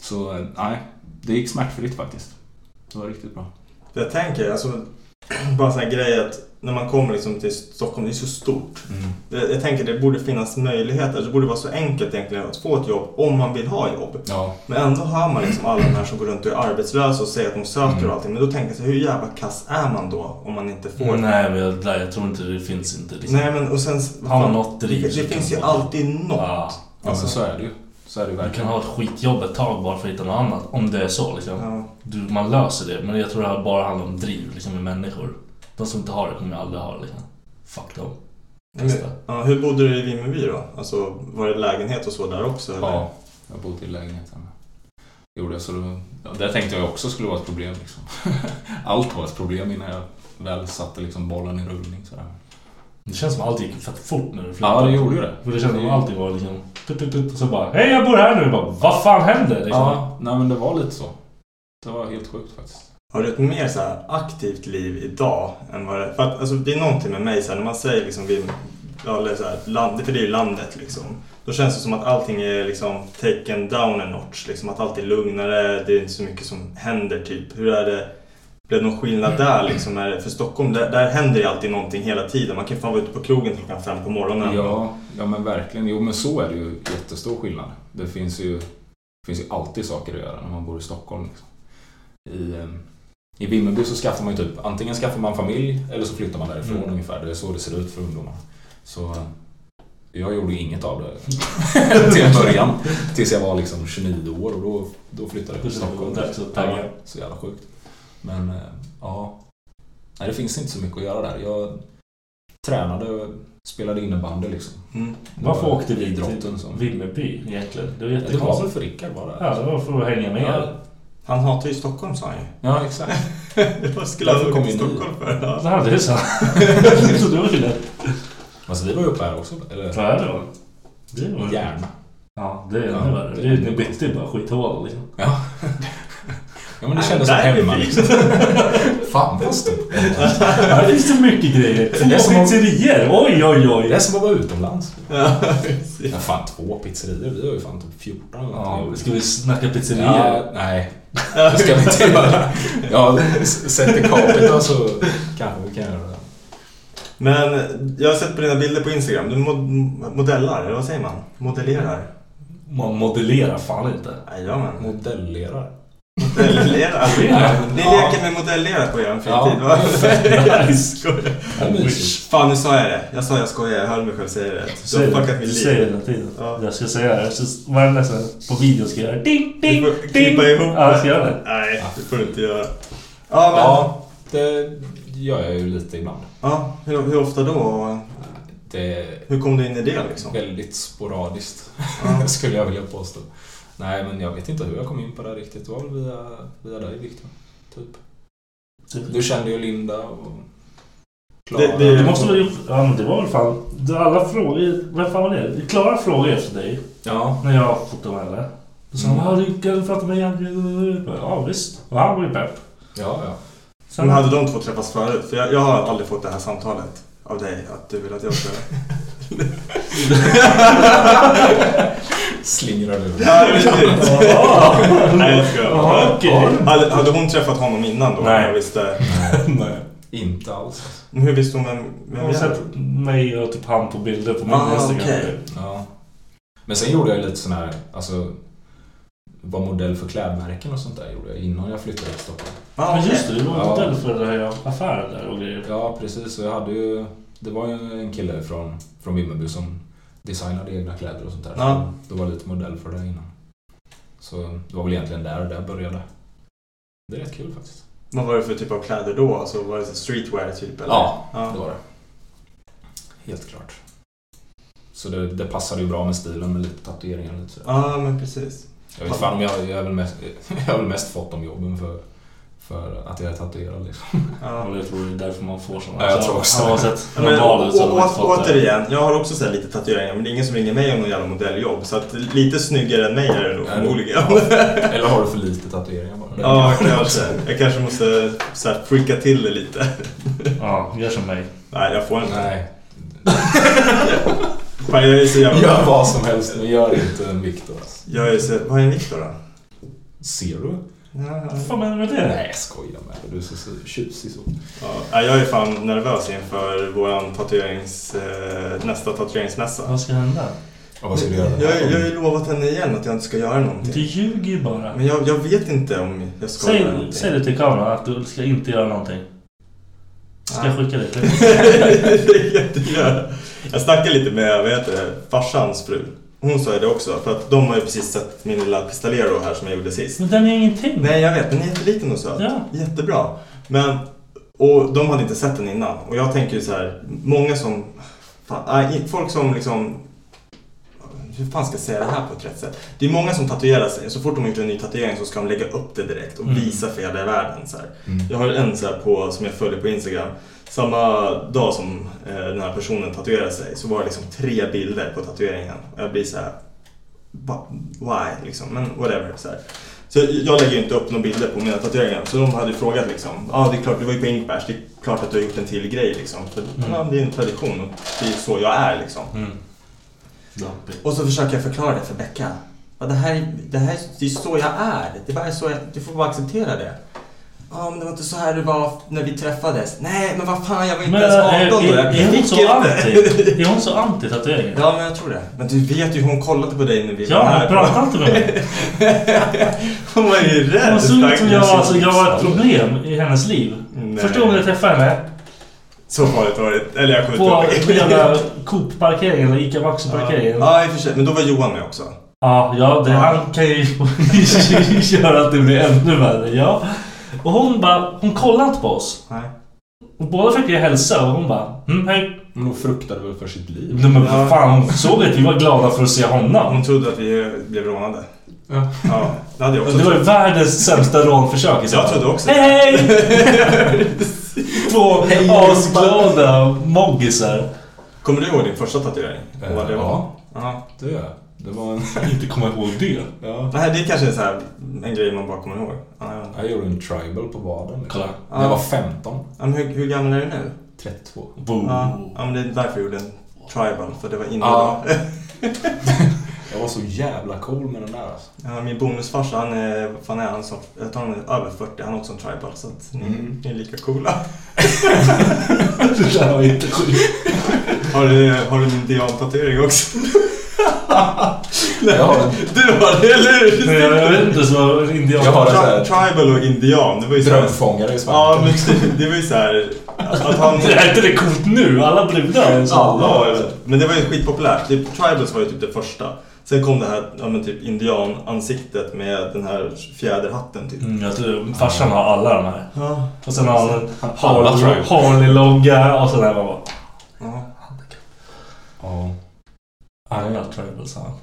Speaker 5: Så eh, nej, det gick smärtfritt faktiskt. Det var riktigt bra.
Speaker 3: Jag tänker alltså... Bara en sån här grej att när man kommer liksom till Stockholm, det är så stort.
Speaker 6: Mm.
Speaker 3: Jag, jag tänker det borde finnas möjligheter. Det borde vara så enkelt egentligen att få ett jobb om man vill ha jobb.
Speaker 5: Ja.
Speaker 3: Men ändå hör man liksom alla de här som går runt och är arbetslösa och säger att de söker
Speaker 6: Mm.
Speaker 3: och allting. Men då tänker jag så här, hur jävla kass är man då om man inte får
Speaker 6: Nej, men jag, nej, jag tror inte det finns inte. Liksom.
Speaker 3: Nej men och sen...
Speaker 6: Har man något
Speaker 3: det,
Speaker 6: driv
Speaker 3: det
Speaker 6: så kan
Speaker 3: finns ju
Speaker 6: man vara-
Speaker 3: alltid något. Alltså,
Speaker 6: Ja.
Speaker 5: Ja men Alltså, så är det ju. Så är det ju
Speaker 6: Man kan
Speaker 5: verkligen.
Speaker 6: ha ett skitjobb ett tag bara för att hitta något annat. Om det är så liksom.
Speaker 3: Ja.
Speaker 6: Du, man löser det. Men jag tror det här bara handlar om driv liksom, med människor. De som inte har det kommer ju aldrig ha det. Liksom. Fuck dem.
Speaker 3: Men,
Speaker 6: Testa.
Speaker 3: ja, hur bodde du i Vimmerby då? Alltså var det lägenhet och så där också? Eller?
Speaker 5: Ja, jag bodde i lägenheten. Gjorde jag så då, ja, det tänkte jag också skulle vara ett problem liksom. Allt var ett problem innan jag väl satte liksom bollen i rullning sådär.
Speaker 6: Det känns som att allt gick fett fort när du flyttade.
Speaker 5: Ja, det gjorde ju det.
Speaker 6: För det känns som att allting var liksom... Tut, tut, tut, och så bara Hej jag bor här nu! Bara, Vad fan händer? Liksom.
Speaker 5: Ja, nej men det var lite så. Det var helt sjukt faktiskt.
Speaker 3: Har du ett mer så här aktivt liv idag än vad det... För att alltså, det är någonting med mig så här, när man säger liksom Vim... ja, Eller så här, land, för det är ju landet liksom. Då känns det som att allting är liksom taken down a notch. Liksom, att allt är lugnare, det är inte så mycket som händer typ. Hur är det? Blev det någon skillnad
Speaker 6: Mm.
Speaker 3: där liksom? Är det, för Stockholm, där, där händer ju alltid någonting hela tiden. Man kan fan vara ute på krogen klockan fem på morgonen.
Speaker 5: Ja, ja men verkligen. Jo men så är det ju jättestor skillnad. Det finns ju, finns ju alltid saker att göra när man bor i Stockholm. Liksom. I, eh, I Vimmerby så skaffar man ju typ, antingen skaffar man familj eller så flyttar man därifrån
Speaker 6: Mm.
Speaker 5: ungefär. Det är så det ser ut för ungdomar. Så eh, jag gjorde ju inget av det till en början. Tills jag var liksom 29 år och då, då flyttade jag till
Speaker 6: Precis,
Speaker 5: Stockholm.
Speaker 6: det är så taggad.
Speaker 5: Ja, så jävla sjukt. Men eh, ja, Nej, det finns inte så mycket att göra där. Jag tränade och spelade innebandy liksom.
Speaker 3: Mm.
Speaker 6: Varför
Speaker 5: var
Speaker 6: åkte vi till
Speaker 5: idrotten som...
Speaker 6: Vimmerby egentligen? Det var
Speaker 5: Ja, Det var
Speaker 6: jättekonstigt.
Speaker 5: väl för Rickard var det?
Speaker 6: Ja, det var för att hänga med.
Speaker 5: Ja.
Speaker 3: Han hatar ju Stockholm sa han ju.
Speaker 5: Ja, exakt.
Speaker 3: Vad skulle han
Speaker 5: Därför
Speaker 3: åka
Speaker 5: kom
Speaker 3: till
Speaker 5: ju ni.
Speaker 3: Stockholm för? Ja.
Speaker 6: Ja, det är så. så det var ju lätt.
Speaker 5: Alltså vi var ju uppe här också. Eller?
Speaker 6: Ja, det var det. Var...
Speaker 5: Gärna.
Speaker 6: Ja, det är
Speaker 5: Ja,
Speaker 6: ännu värre.
Speaker 5: det-
Speaker 6: Det är- Ni bytte ju bara skithål liksom.
Speaker 5: Ja. Ja, men det kändes som
Speaker 6: Nej, det är
Speaker 5: hemma. liksom.
Speaker 6: fint.
Speaker 5: Fan vad stort.
Speaker 6: Här finns så mycket grejer.
Speaker 5: Det är som
Speaker 6: Två
Speaker 5: om-
Speaker 6: pizzerior. Oj, oj, oj.
Speaker 5: Det är som att vara utomlands.
Speaker 3: Ja,
Speaker 5: Ja, fan två pizzerior. Vi har ju fan typ 14 eller
Speaker 6: Ja,
Speaker 5: någonting.
Speaker 6: ska vi snacka pizzerior?
Speaker 5: Ja, nej. Det ska vi inte göra. Ja, sätter capita så kanske vi kan göra det.
Speaker 3: Men jag har sett på dina bilder på Instagram. Du mod modellar, eller vad säger man? Modellerar?
Speaker 6: Man modellerar fan inte.
Speaker 3: Jajamän.
Speaker 5: Modellerar.
Speaker 3: Modellerar. Ni leker med modellera på er fritid, va? Jag
Speaker 5: Det är
Speaker 3: skojar.
Speaker 5: mysigt.
Speaker 3: Fan, nu sa jag det. Jag sa jag skojar. Jag hörde mig själv säga det. Du har fuckat
Speaker 6: du
Speaker 3: mitt
Speaker 6: säger det
Speaker 3: liv.
Speaker 6: hela tiden.
Speaker 3: Ja.
Speaker 6: Jag ska säga det. Jag ska, varje nästa på video ska jag göra ding,
Speaker 3: Du
Speaker 6: ding,
Speaker 3: får
Speaker 6: ding.
Speaker 3: klippa ihop
Speaker 6: Ja, jag ska göra det.
Speaker 3: Nej, det får du inte göra. Ja, men, ja.
Speaker 5: Ja, det gör jag ju lite ibland.
Speaker 3: hur, hur ofta då? Och
Speaker 5: Det är
Speaker 3: Hur kom du in i det liksom?
Speaker 5: väldigt sporadiskt, skulle jag vilja påstå. Nej, men jag vet inte hur jag kom in på det här riktigt. Det var väl via, via dig, Viktor. Typ. Du kände ju Linda och Klara.
Speaker 3: Det- det-
Speaker 6: Du måste väl gjort- Ja, men det var väl fan... det- Alla frågor... Vem fan var det? Klara frågor efter dig.
Speaker 5: Ja,
Speaker 6: När jag fotade henne. Då sa hon
Speaker 5: Mm.
Speaker 6: ah, du kan prata med Jan. Ja, visst. Och han var ju pepp.
Speaker 5: ja, ja.
Speaker 6: Sen
Speaker 3: Men hade de två träffats förut? För jag, jag har aldrig fått det här samtalet av dig, att du vill att jag ska...
Speaker 5: Slingrar du.
Speaker 3: Ja, precis. Nej, jag
Speaker 6: Ja,
Speaker 3: skojar.
Speaker 6: okej.
Speaker 3: Hade, hade hon träffat honom innan då?
Speaker 6: Nej.
Speaker 3: Jag visste.
Speaker 6: Nej.
Speaker 5: Inte alls.
Speaker 3: Men Hur visste hon vem, vem
Speaker 6: Hon har
Speaker 3: jag är?
Speaker 6: sett mig och typ han på bilder på min
Speaker 3: Ah,
Speaker 6: Instagram.
Speaker 3: okej.
Speaker 5: Ja. Men sen gjorde jag ju lite sån här, alltså var modell för klädmärken och sånt där gjorde jag innan jag flyttade till Stockholm.
Speaker 6: Men
Speaker 3: Ja, Ah, okej.
Speaker 6: just det, du var
Speaker 5: Ja.
Speaker 6: modell för den här affären där och grejer.
Speaker 5: Ja, precis. Och jag hade ju... Det var ju en kille från, från Vimmerby som designade egna kläder och sånt där.
Speaker 3: Ja.
Speaker 5: Så då var jag lite modell för det innan. Så det var väl egentligen där det började. Det är rätt kul faktiskt.
Speaker 3: Vad var det för typ av kläder då? Alltså, var det streetwear typ? Eller?
Speaker 5: Ja, det
Speaker 3: ja.
Speaker 5: var det. Helt klart. Så det, det passade ju bra med stilen med lite tatueringar och lite sådär.
Speaker 3: Ja, Ah, men precis.
Speaker 5: Jag vet fan om jag... Jag har väl mest, jag har väl mest fått de jobben för, för att jag är tatuerad liksom.
Speaker 3: Ja.
Speaker 6: Och jag tror det är därför man får såna.
Speaker 5: Ja, jag tror också
Speaker 6: Han har
Speaker 5: det.
Speaker 6: sett
Speaker 3: Ah. Men,
Speaker 6: normal ut så
Speaker 3: å-
Speaker 6: han har inte
Speaker 3: å-
Speaker 6: fått det.
Speaker 3: återigen, jag har också så här lite tatueringar men det är ingen som ringer mig om någon jävla modelljobb. Så att lite snyggare än mig är det nog
Speaker 5: Ja, det-
Speaker 3: förmodligen.
Speaker 5: Eller har du för lite tatueringar bara?
Speaker 3: Ja, kanske. Jag kanske måste så här, freaka till det lite.
Speaker 6: Ja, gör som mig.
Speaker 3: Nej, jag får inte.
Speaker 5: Nej.
Speaker 3: Fan, jag är så jävla...
Speaker 5: Gör vad som helst, men gör inte en Viktor. alltså.
Speaker 3: Jag är så... Vad är en Viktor då?
Speaker 5: Ser du?
Speaker 3: Ja,
Speaker 6: Vad fan menar du med det?
Speaker 5: Nej, jag skojar med dig. Du är så, så tjusig så.
Speaker 3: Ja, jag är fan nervös inför våran tatuerings... Eh, nästa tatueringsmässa.
Speaker 6: Vad ska hända?
Speaker 5: Ja, vad ska du göra den
Speaker 3: Jag,
Speaker 5: här
Speaker 3: jag har
Speaker 5: gången?
Speaker 3: ju lovat henne igen att jag inte ska göra
Speaker 6: Du
Speaker 3: någonting.
Speaker 6: ljuger ju bara.
Speaker 3: Men jag, jag vet inte om jag ska göra
Speaker 6: Säg,
Speaker 3: någonting.
Speaker 6: säg det till kameran att du ska inte göra någonting. Ska jag skicka det till dig?
Speaker 3: Ah. det kan jag inte göra. Jag snackade lite med, vad heter det, farsans fru. Hon sa ju det också, för att de har ju precis sett min lilla pistolero här som jag gjorde sist.
Speaker 6: Men den är ingenting.
Speaker 3: Nej, jag vet, den är jätteliten och söt.
Speaker 6: Ja.
Speaker 3: Jättebra. Men, och de hade inte sett den innan. Och jag tänker ju så här, många som, fan, nej, folk som liksom hur fan ska jag säga det här på ett rätt sätt? Det är många som tatuerar sig. Så fort de har gjort en ny tatuering så ska de lägga upp det direkt och visa för hela världen. Så här. Jag har en så här på, som jag följer på Instagram. Samma dag som eh, den här personen tatuerade sig så var det liksom tre bilder på tatueringen. Och jag blir så här, "Va- why? Liksom. Men whatever. Så, här. så jag lägger ju inte upp några bilder på mina tatueringar. Så de hade ju frågat liksom, ja ah, det är klart, du var ju på Inkbärs, det är klart att du har gjort en till grej liksom. För, ja, det är en tradition och det är så jag är liksom. Och så försöker jag förklara det för Becka. Ja, det, här, det här det är så jag är. Det är bara så jag, du får bara acceptera det. Ja, men det var inte så här det var när vi träffades. Nej, men vad fan, jag var inte
Speaker 6: Men är,
Speaker 3: ens 18 då.
Speaker 6: är,
Speaker 3: Jag
Speaker 6: är, hon
Speaker 3: fick
Speaker 6: så
Speaker 3: inte.
Speaker 6: anti? Är hon så anti tatueringen?
Speaker 3: Ja, men jag tror det. Men du vet ju, hon kollade på dig när vi var
Speaker 6: Ja,
Speaker 3: här.
Speaker 6: jag pratar inte med mig.
Speaker 3: Hon var ju rädd.
Speaker 6: Hon såg ut som jag,
Speaker 3: stackars.
Speaker 6: alltså, jag var ett problem i hennes liv.
Speaker 3: Nej.
Speaker 6: Första gången jag träffade henne
Speaker 3: Så farligt var det. Eller jag kommer
Speaker 6: på
Speaker 3: inte
Speaker 6: jävla Coop-parkeringen eller Ica Maxi-parkeringen. Ja,
Speaker 3: Ja, i och för sig. Men då var Johan med också.
Speaker 6: ja det, han kan ju göra att det blir ännu värre. Ja. Och hon bara, hon kollade inte på oss.
Speaker 3: Nej.
Speaker 6: Och båda fick ju hälsa och hon bara, mm, hej.
Speaker 5: Men hon fruktade väl för sitt liv?
Speaker 6: Nej men
Speaker 3: Ja.
Speaker 6: vad fan, hon såg att vi var glada för att se honom.
Speaker 3: Hon trodde att vi eh, blev rånade.
Speaker 5: Ja.
Speaker 3: Ja, det hade jag också
Speaker 6: Det var ju världens sämsta rånförsök i så
Speaker 3: Jag
Speaker 6: fall.
Speaker 3: trodde också det.
Speaker 6: Hej, hej! Två asglada moggisar.
Speaker 3: Kommer du ihåg din första tatuering?
Speaker 5: Eh,
Speaker 3: Vad det var?
Speaker 5: ja.
Speaker 3: Ja.
Speaker 5: Det gör jag. Det var en...
Speaker 6: Inte komma ihåg det.
Speaker 5: Ja.
Speaker 3: Det här det kanske är så här, en grej man bara kommer ihåg. Ja, jag vet inte.
Speaker 5: Jag gjorde en tribal på baden. liksom.
Speaker 6: Kolla.
Speaker 5: När jag var 15.
Speaker 3: Ja, men hur, hur gammal är du nu?
Speaker 5: 32.
Speaker 6: Boom.
Speaker 3: Ja, ja, men det är därför jag gjorde en tribal, för det var innan
Speaker 5: Ja.
Speaker 3: jag...
Speaker 5: Jag var så jävla cool med den där alltså.
Speaker 3: Ja, min bonusfarsa, han är, vad fan är han? Som, jag tror han är över 40, han är också en tribal. Så att ni,
Speaker 5: Mm.
Speaker 3: ni är lika coola.
Speaker 6: Det där var inte sjukt.
Speaker 3: Har du, har du en diamantatuering också?
Speaker 5: Jag har en
Speaker 3: Du har det, eller
Speaker 6: Men jag, jag
Speaker 3: hur?
Speaker 6: vet inte, så var indian.
Speaker 5: Jag har det.
Speaker 3: Tri- Tribal och indian, det var ju så här,
Speaker 5: drömfångare i
Speaker 3: Ja,
Speaker 5: svanken.
Speaker 3: men typ, det var ju så här, att att han...
Speaker 6: Det är inte det coolt nu? Alla brudar har
Speaker 5: Alla
Speaker 3: Ja, jag vet. Men det var ju skitpopulärt. Typ, tribals var ju typ det första. Sen kom det här ja, men typ indianansiktet med den här fjäderhatten typ.
Speaker 6: Mm, jag tror farsan har alla de här.
Speaker 3: Ja.
Speaker 6: Och sen har han en
Speaker 5: alla tror jag.
Speaker 6: Harley-logga och sådär. Man bara...
Speaker 3: ja.
Speaker 5: Ja.
Speaker 6: Alla tribals har han.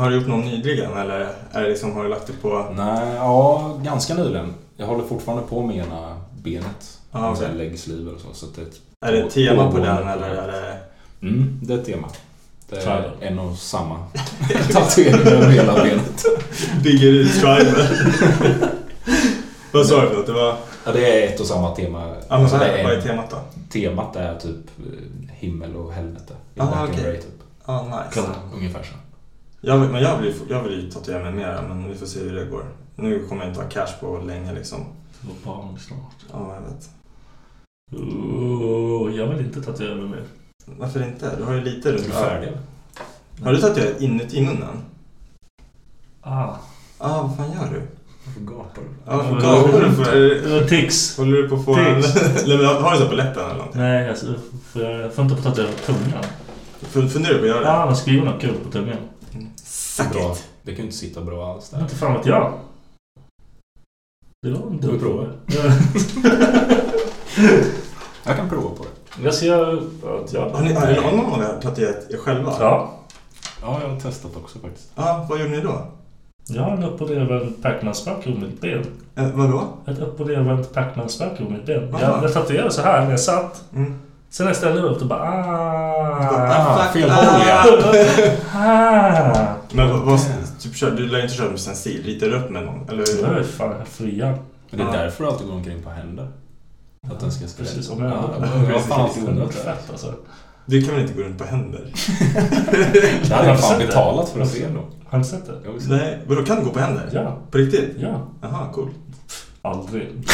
Speaker 3: Har du gjort någon nyligen eller är det liksom, har du lagt det på...
Speaker 5: Nej, ja, ganska nyligen. Jag håller fortfarande på med ena benet.
Speaker 3: Ja,
Speaker 5: Ah,
Speaker 3: okej.
Speaker 5: Läggsliv eller så. så att det är, ett-
Speaker 3: Är det ett tema på
Speaker 5: pågående
Speaker 3: den eller är det...
Speaker 5: Mm, det är ett tema. Det är
Speaker 6: Tribal.
Speaker 5: en och samma tatuering över hela benet.
Speaker 3: Bygger ut tribal? Vad sa du för något? Det var...
Speaker 5: Ja, det är ett och samma tema.
Speaker 3: Ja men så
Speaker 5: det
Speaker 3: här,
Speaker 5: är
Speaker 3: vad är
Speaker 5: en-
Speaker 3: temat då?
Speaker 5: Temat är typ eh, himmel och helvete. I
Speaker 3: Ah,
Speaker 5: Black and
Speaker 3: okej.
Speaker 5: Grey, typ.
Speaker 3: Ja, nice.
Speaker 5: Alltså, Ungefär så.
Speaker 3: Jag, vill- men jag vill, ju få- jag vill ju tatuera mig mera men vi får se hur det går. Nu kommer jag inte ha cash på länge liksom.
Speaker 6: Det var barn snart.
Speaker 3: Ja, jag vet.
Speaker 6: Oh, jag vill inte tatuera mig mer.
Speaker 3: Varför inte? Du har ju lite
Speaker 5: Är
Speaker 3: runt
Speaker 5: du
Speaker 3: öronen.
Speaker 5: färdig?
Speaker 3: Har du tatuerat inuti munnen?
Speaker 6: Ah.
Speaker 3: Ah, vad fan gör du?
Speaker 5: Varför gapar du?
Speaker 3: Ja, varför gapar du?
Speaker 6: Det
Speaker 3: För,
Speaker 6: var tics.
Speaker 3: håller du på att få en...
Speaker 6: Tics.
Speaker 3: Nej, men har du så på läppen eller någonting?
Speaker 6: Nej, alltså, för jag får inte på tatuera på tungan.
Speaker 3: Fun- Funderar du på att göra det?
Speaker 6: Ja, men skriver något kul på tungan.
Speaker 3: Suck
Speaker 5: Bra.
Speaker 3: it!
Speaker 5: Det kan ju inte sitta bra alls
Speaker 6: Men
Speaker 5: där.
Speaker 6: inte fan vet jag. Det var en dum
Speaker 5: Vi provar.
Speaker 6: fråga. Ja.
Speaker 5: Jag kan prova på det.
Speaker 6: Jag ser att jag...
Speaker 3: Har ni, har ni någon av er tatuerat er själva?
Speaker 6: Ja.
Speaker 5: Ja, jag har testat också faktiskt.
Speaker 3: Ja, vad gjorde ni då?
Speaker 6: Jag har en upp och nervänd Pac-Man-spackel på mitt ben.
Speaker 3: Eh, vadå?
Speaker 6: Ett upp och nervänt Pac-Man-spackel på mitt ben.
Speaker 3: Aha.
Speaker 6: Jag, jag tatuerade så här när jag satt.
Speaker 3: Mm.
Speaker 6: Sen när jag ställde mig upp, då bara... Ah,
Speaker 3: Ah,
Speaker 5: fel
Speaker 3: ah.
Speaker 5: håll, ja.
Speaker 6: ah.
Speaker 3: Men vad, vad typ, kör, du lär ju inte köra med stencil? Ritar du upp med någon? Eller
Speaker 6: Det var ju
Speaker 3: hur?
Speaker 6: fan fria.
Speaker 5: Men det är
Speaker 3: Ja.
Speaker 5: därför du alltid går omkring på händer. Att den ska skriva.
Speaker 6: Precis, om
Speaker 5: jag
Speaker 6: jag-
Speaker 5: har jag har fan alltid undrat det.
Speaker 6: Fett alltså.
Speaker 3: Du kan väl inte gå runt på händer?
Speaker 5: Det hade jag
Speaker 6: Har
Speaker 5: fan
Speaker 6: du sett
Speaker 5: betalat
Speaker 6: det?
Speaker 5: för att se ändå.
Speaker 6: Har ni sett det?
Speaker 5: Jag visste.
Speaker 3: Nej, vadå kan du gå på händer?
Speaker 6: Ja.
Speaker 3: På riktigt?
Speaker 6: Ja.
Speaker 3: Jaha, cool.
Speaker 6: Aldrig.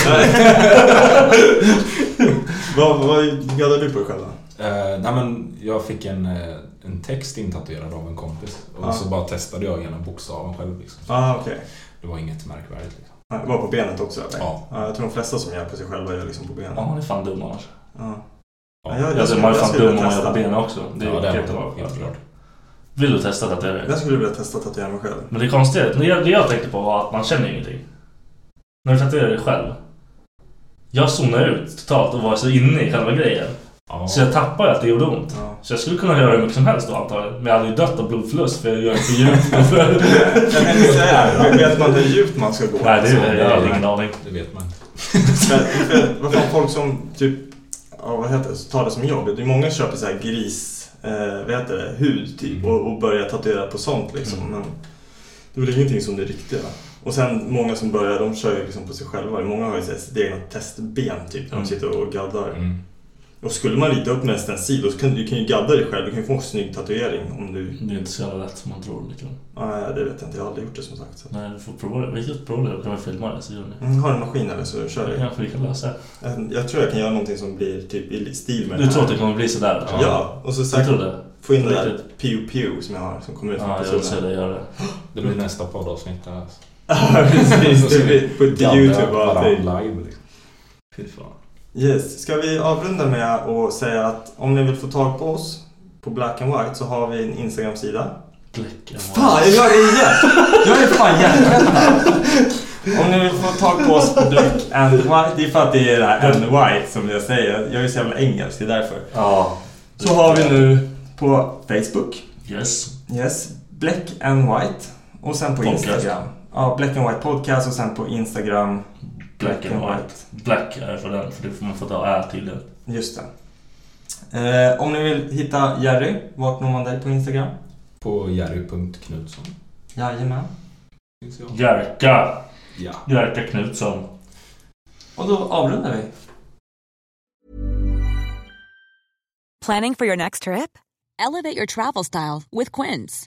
Speaker 3: vad, vad gaddar du på dig själv då?
Speaker 5: Eh, nej men jag fick en, eh, en text intatuerad av en kompis. Och
Speaker 3: Ja.
Speaker 5: så bara testade jag igenom bokstaven själv liksom.
Speaker 3: Ah, okej.
Speaker 5: Det var inget märkvärdigt liksom.
Speaker 3: Ja, Var på benet också eller?
Speaker 5: Ja.
Speaker 3: Jag tror de flesta som gör på sig själva gör liksom på benet.
Speaker 6: Ja, man är fan dum annars.
Speaker 3: Ja.
Speaker 5: Ja,
Speaker 3: Ja, jag-
Speaker 6: Alltså
Speaker 3: skulle-
Speaker 6: man är
Speaker 3: jag
Speaker 6: fan
Speaker 3: skulle
Speaker 6: dum om man gör
Speaker 3: testa.
Speaker 6: på benen också. Det är
Speaker 5: ja, det är
Speaker 6: jättebra.
Speaker 5: helt, helt klart.
Speaker 6: Vill du testa att det är det?
Speaker 3: Jag skulle vilja testa att tatuera mig själv.
Speaker 6: Men det konstiga, är att- det jag, det jag tänkte på var att man känner ingenting. När du tatuerar dig själv. Jag zonar ut totalt och var så inne i själva grejen.
Speaker 5: Ja.
Speaker 6: Så jag tappar ju att det gjorde ont.
Speaker 3: Ja.
Speaker 6: Så jag skulle kunna göra hur mycket som helst då antagligen. Men jag hade ju dött av blodförlust för jag gör för djupt.
Speaker 3: Jag tänkte säga det, men vet man hur djupt man ska gå?
Speaker 6: Nej, det är, jag
Speaker 5: Nej.
Speaker 6: hade ingen aning.
Speaker 5: Det vet man.
Speaker 3: För, för, vad fan, folk som typ, ja, vad heter det, tar det som jobb. Det är många som köper så här gris, eh, vad heter det, hud typ
Speaker 6: Mm.
Speaker 3: och, och börjar tatuera på sånt liksom. Men det är väl ingenting som det riktiga. Och sen många som börjar, de kör ju liksom på sig själva. Många har ju så här sitt egna testben typ, när de sitter och gaddar.
Speaker 5: Mm.
Speaker 3: Och skulle man rita upp med en stencil, då kan du kan ju gadda dig själv. Du kan ju få en snygg tatuering om du...
Speaker 6: Det är inte så jävla lätt som man tror. Liksom.
Speaker 3: Nej, det vet jag inte. Jag har aldrig gjort det som sagt. Så.
Speaker 6: Nej, du får prova det. Vi kan prova det och kan vi filma det så gör ni.
Speaker 3: Mm, Har du en maskin eller så kör jag.
Speaker 6: Kanske vi kan lösa det.
Speaker 3: Jag- Jag tror jag kan göra någonting som blir typ i stil med
Speaker 6: Du
Speaker 3: den
Speaker 6: tror att
Speaker 3: här.
Speaker 6: det kommer bli sådär?
Speaker 3: Ja, och så
Speaker 6: Jag tror
Speaker 3: säkert
Speaker 6: det.
Speaker 3: få in det
Speaker 6: Riktigt.
Speaker 3: där pew pew som jag har som kommer ut från
Speaker 6: Ja, jag vill se
Speaker 3: personen.
Speaker 6: dig göra det.
Speaker 5: Det blir nästa poddavsnitt där alltså.
Speaker 3: Ja, precis. Det blir på
Speaker 5: Gadda
Speaker 3: YouTube och allting.
Speaker 5: varandra live liksom. Fy fan.
Speaker 3: Yes, ska vi avrunda med att säga att om ni vill få tag på oss på Black and White så har vi en Instagram-sida.
Speaker 6: Bläck.
Speaker 3: Fan, jag gör det igen! Jag är fan hjärntvättad! Om ni vill få tag på oss på Black and White, det är för att det är det här and white som jag säger. Jag är så jävla engelsk, det är därför.
Speaker 6: Ja.
Speaker 3: Så har vi nu på Facebook,
Speaker 6: Yes.
Speaker 3: yes, Black and White. Och sen på
Speaker 6: Podcast.
Speaker 3: Instagram. Ja, Black and White Podcast och sen på Instagram,
Speaker 6: Black and white. Black är för den, för det får man få ta är till den.
Speaker 3: Just det. Eh, om ni vill hitta Jerry, vart når man dig på Instagram?
Speaker 5: På jerry.knutsson.
Speaker 8: Jajamän.
Speaker 5: finns jag.
Speaker 3: Jerka.
Speaker 5: Ja.
Speaker 3: Jerka Knutsson.
Speaker 8: Och då avrundar vi.
Speaker 9: Planning for your next trip? Elevate your travel style with Quince.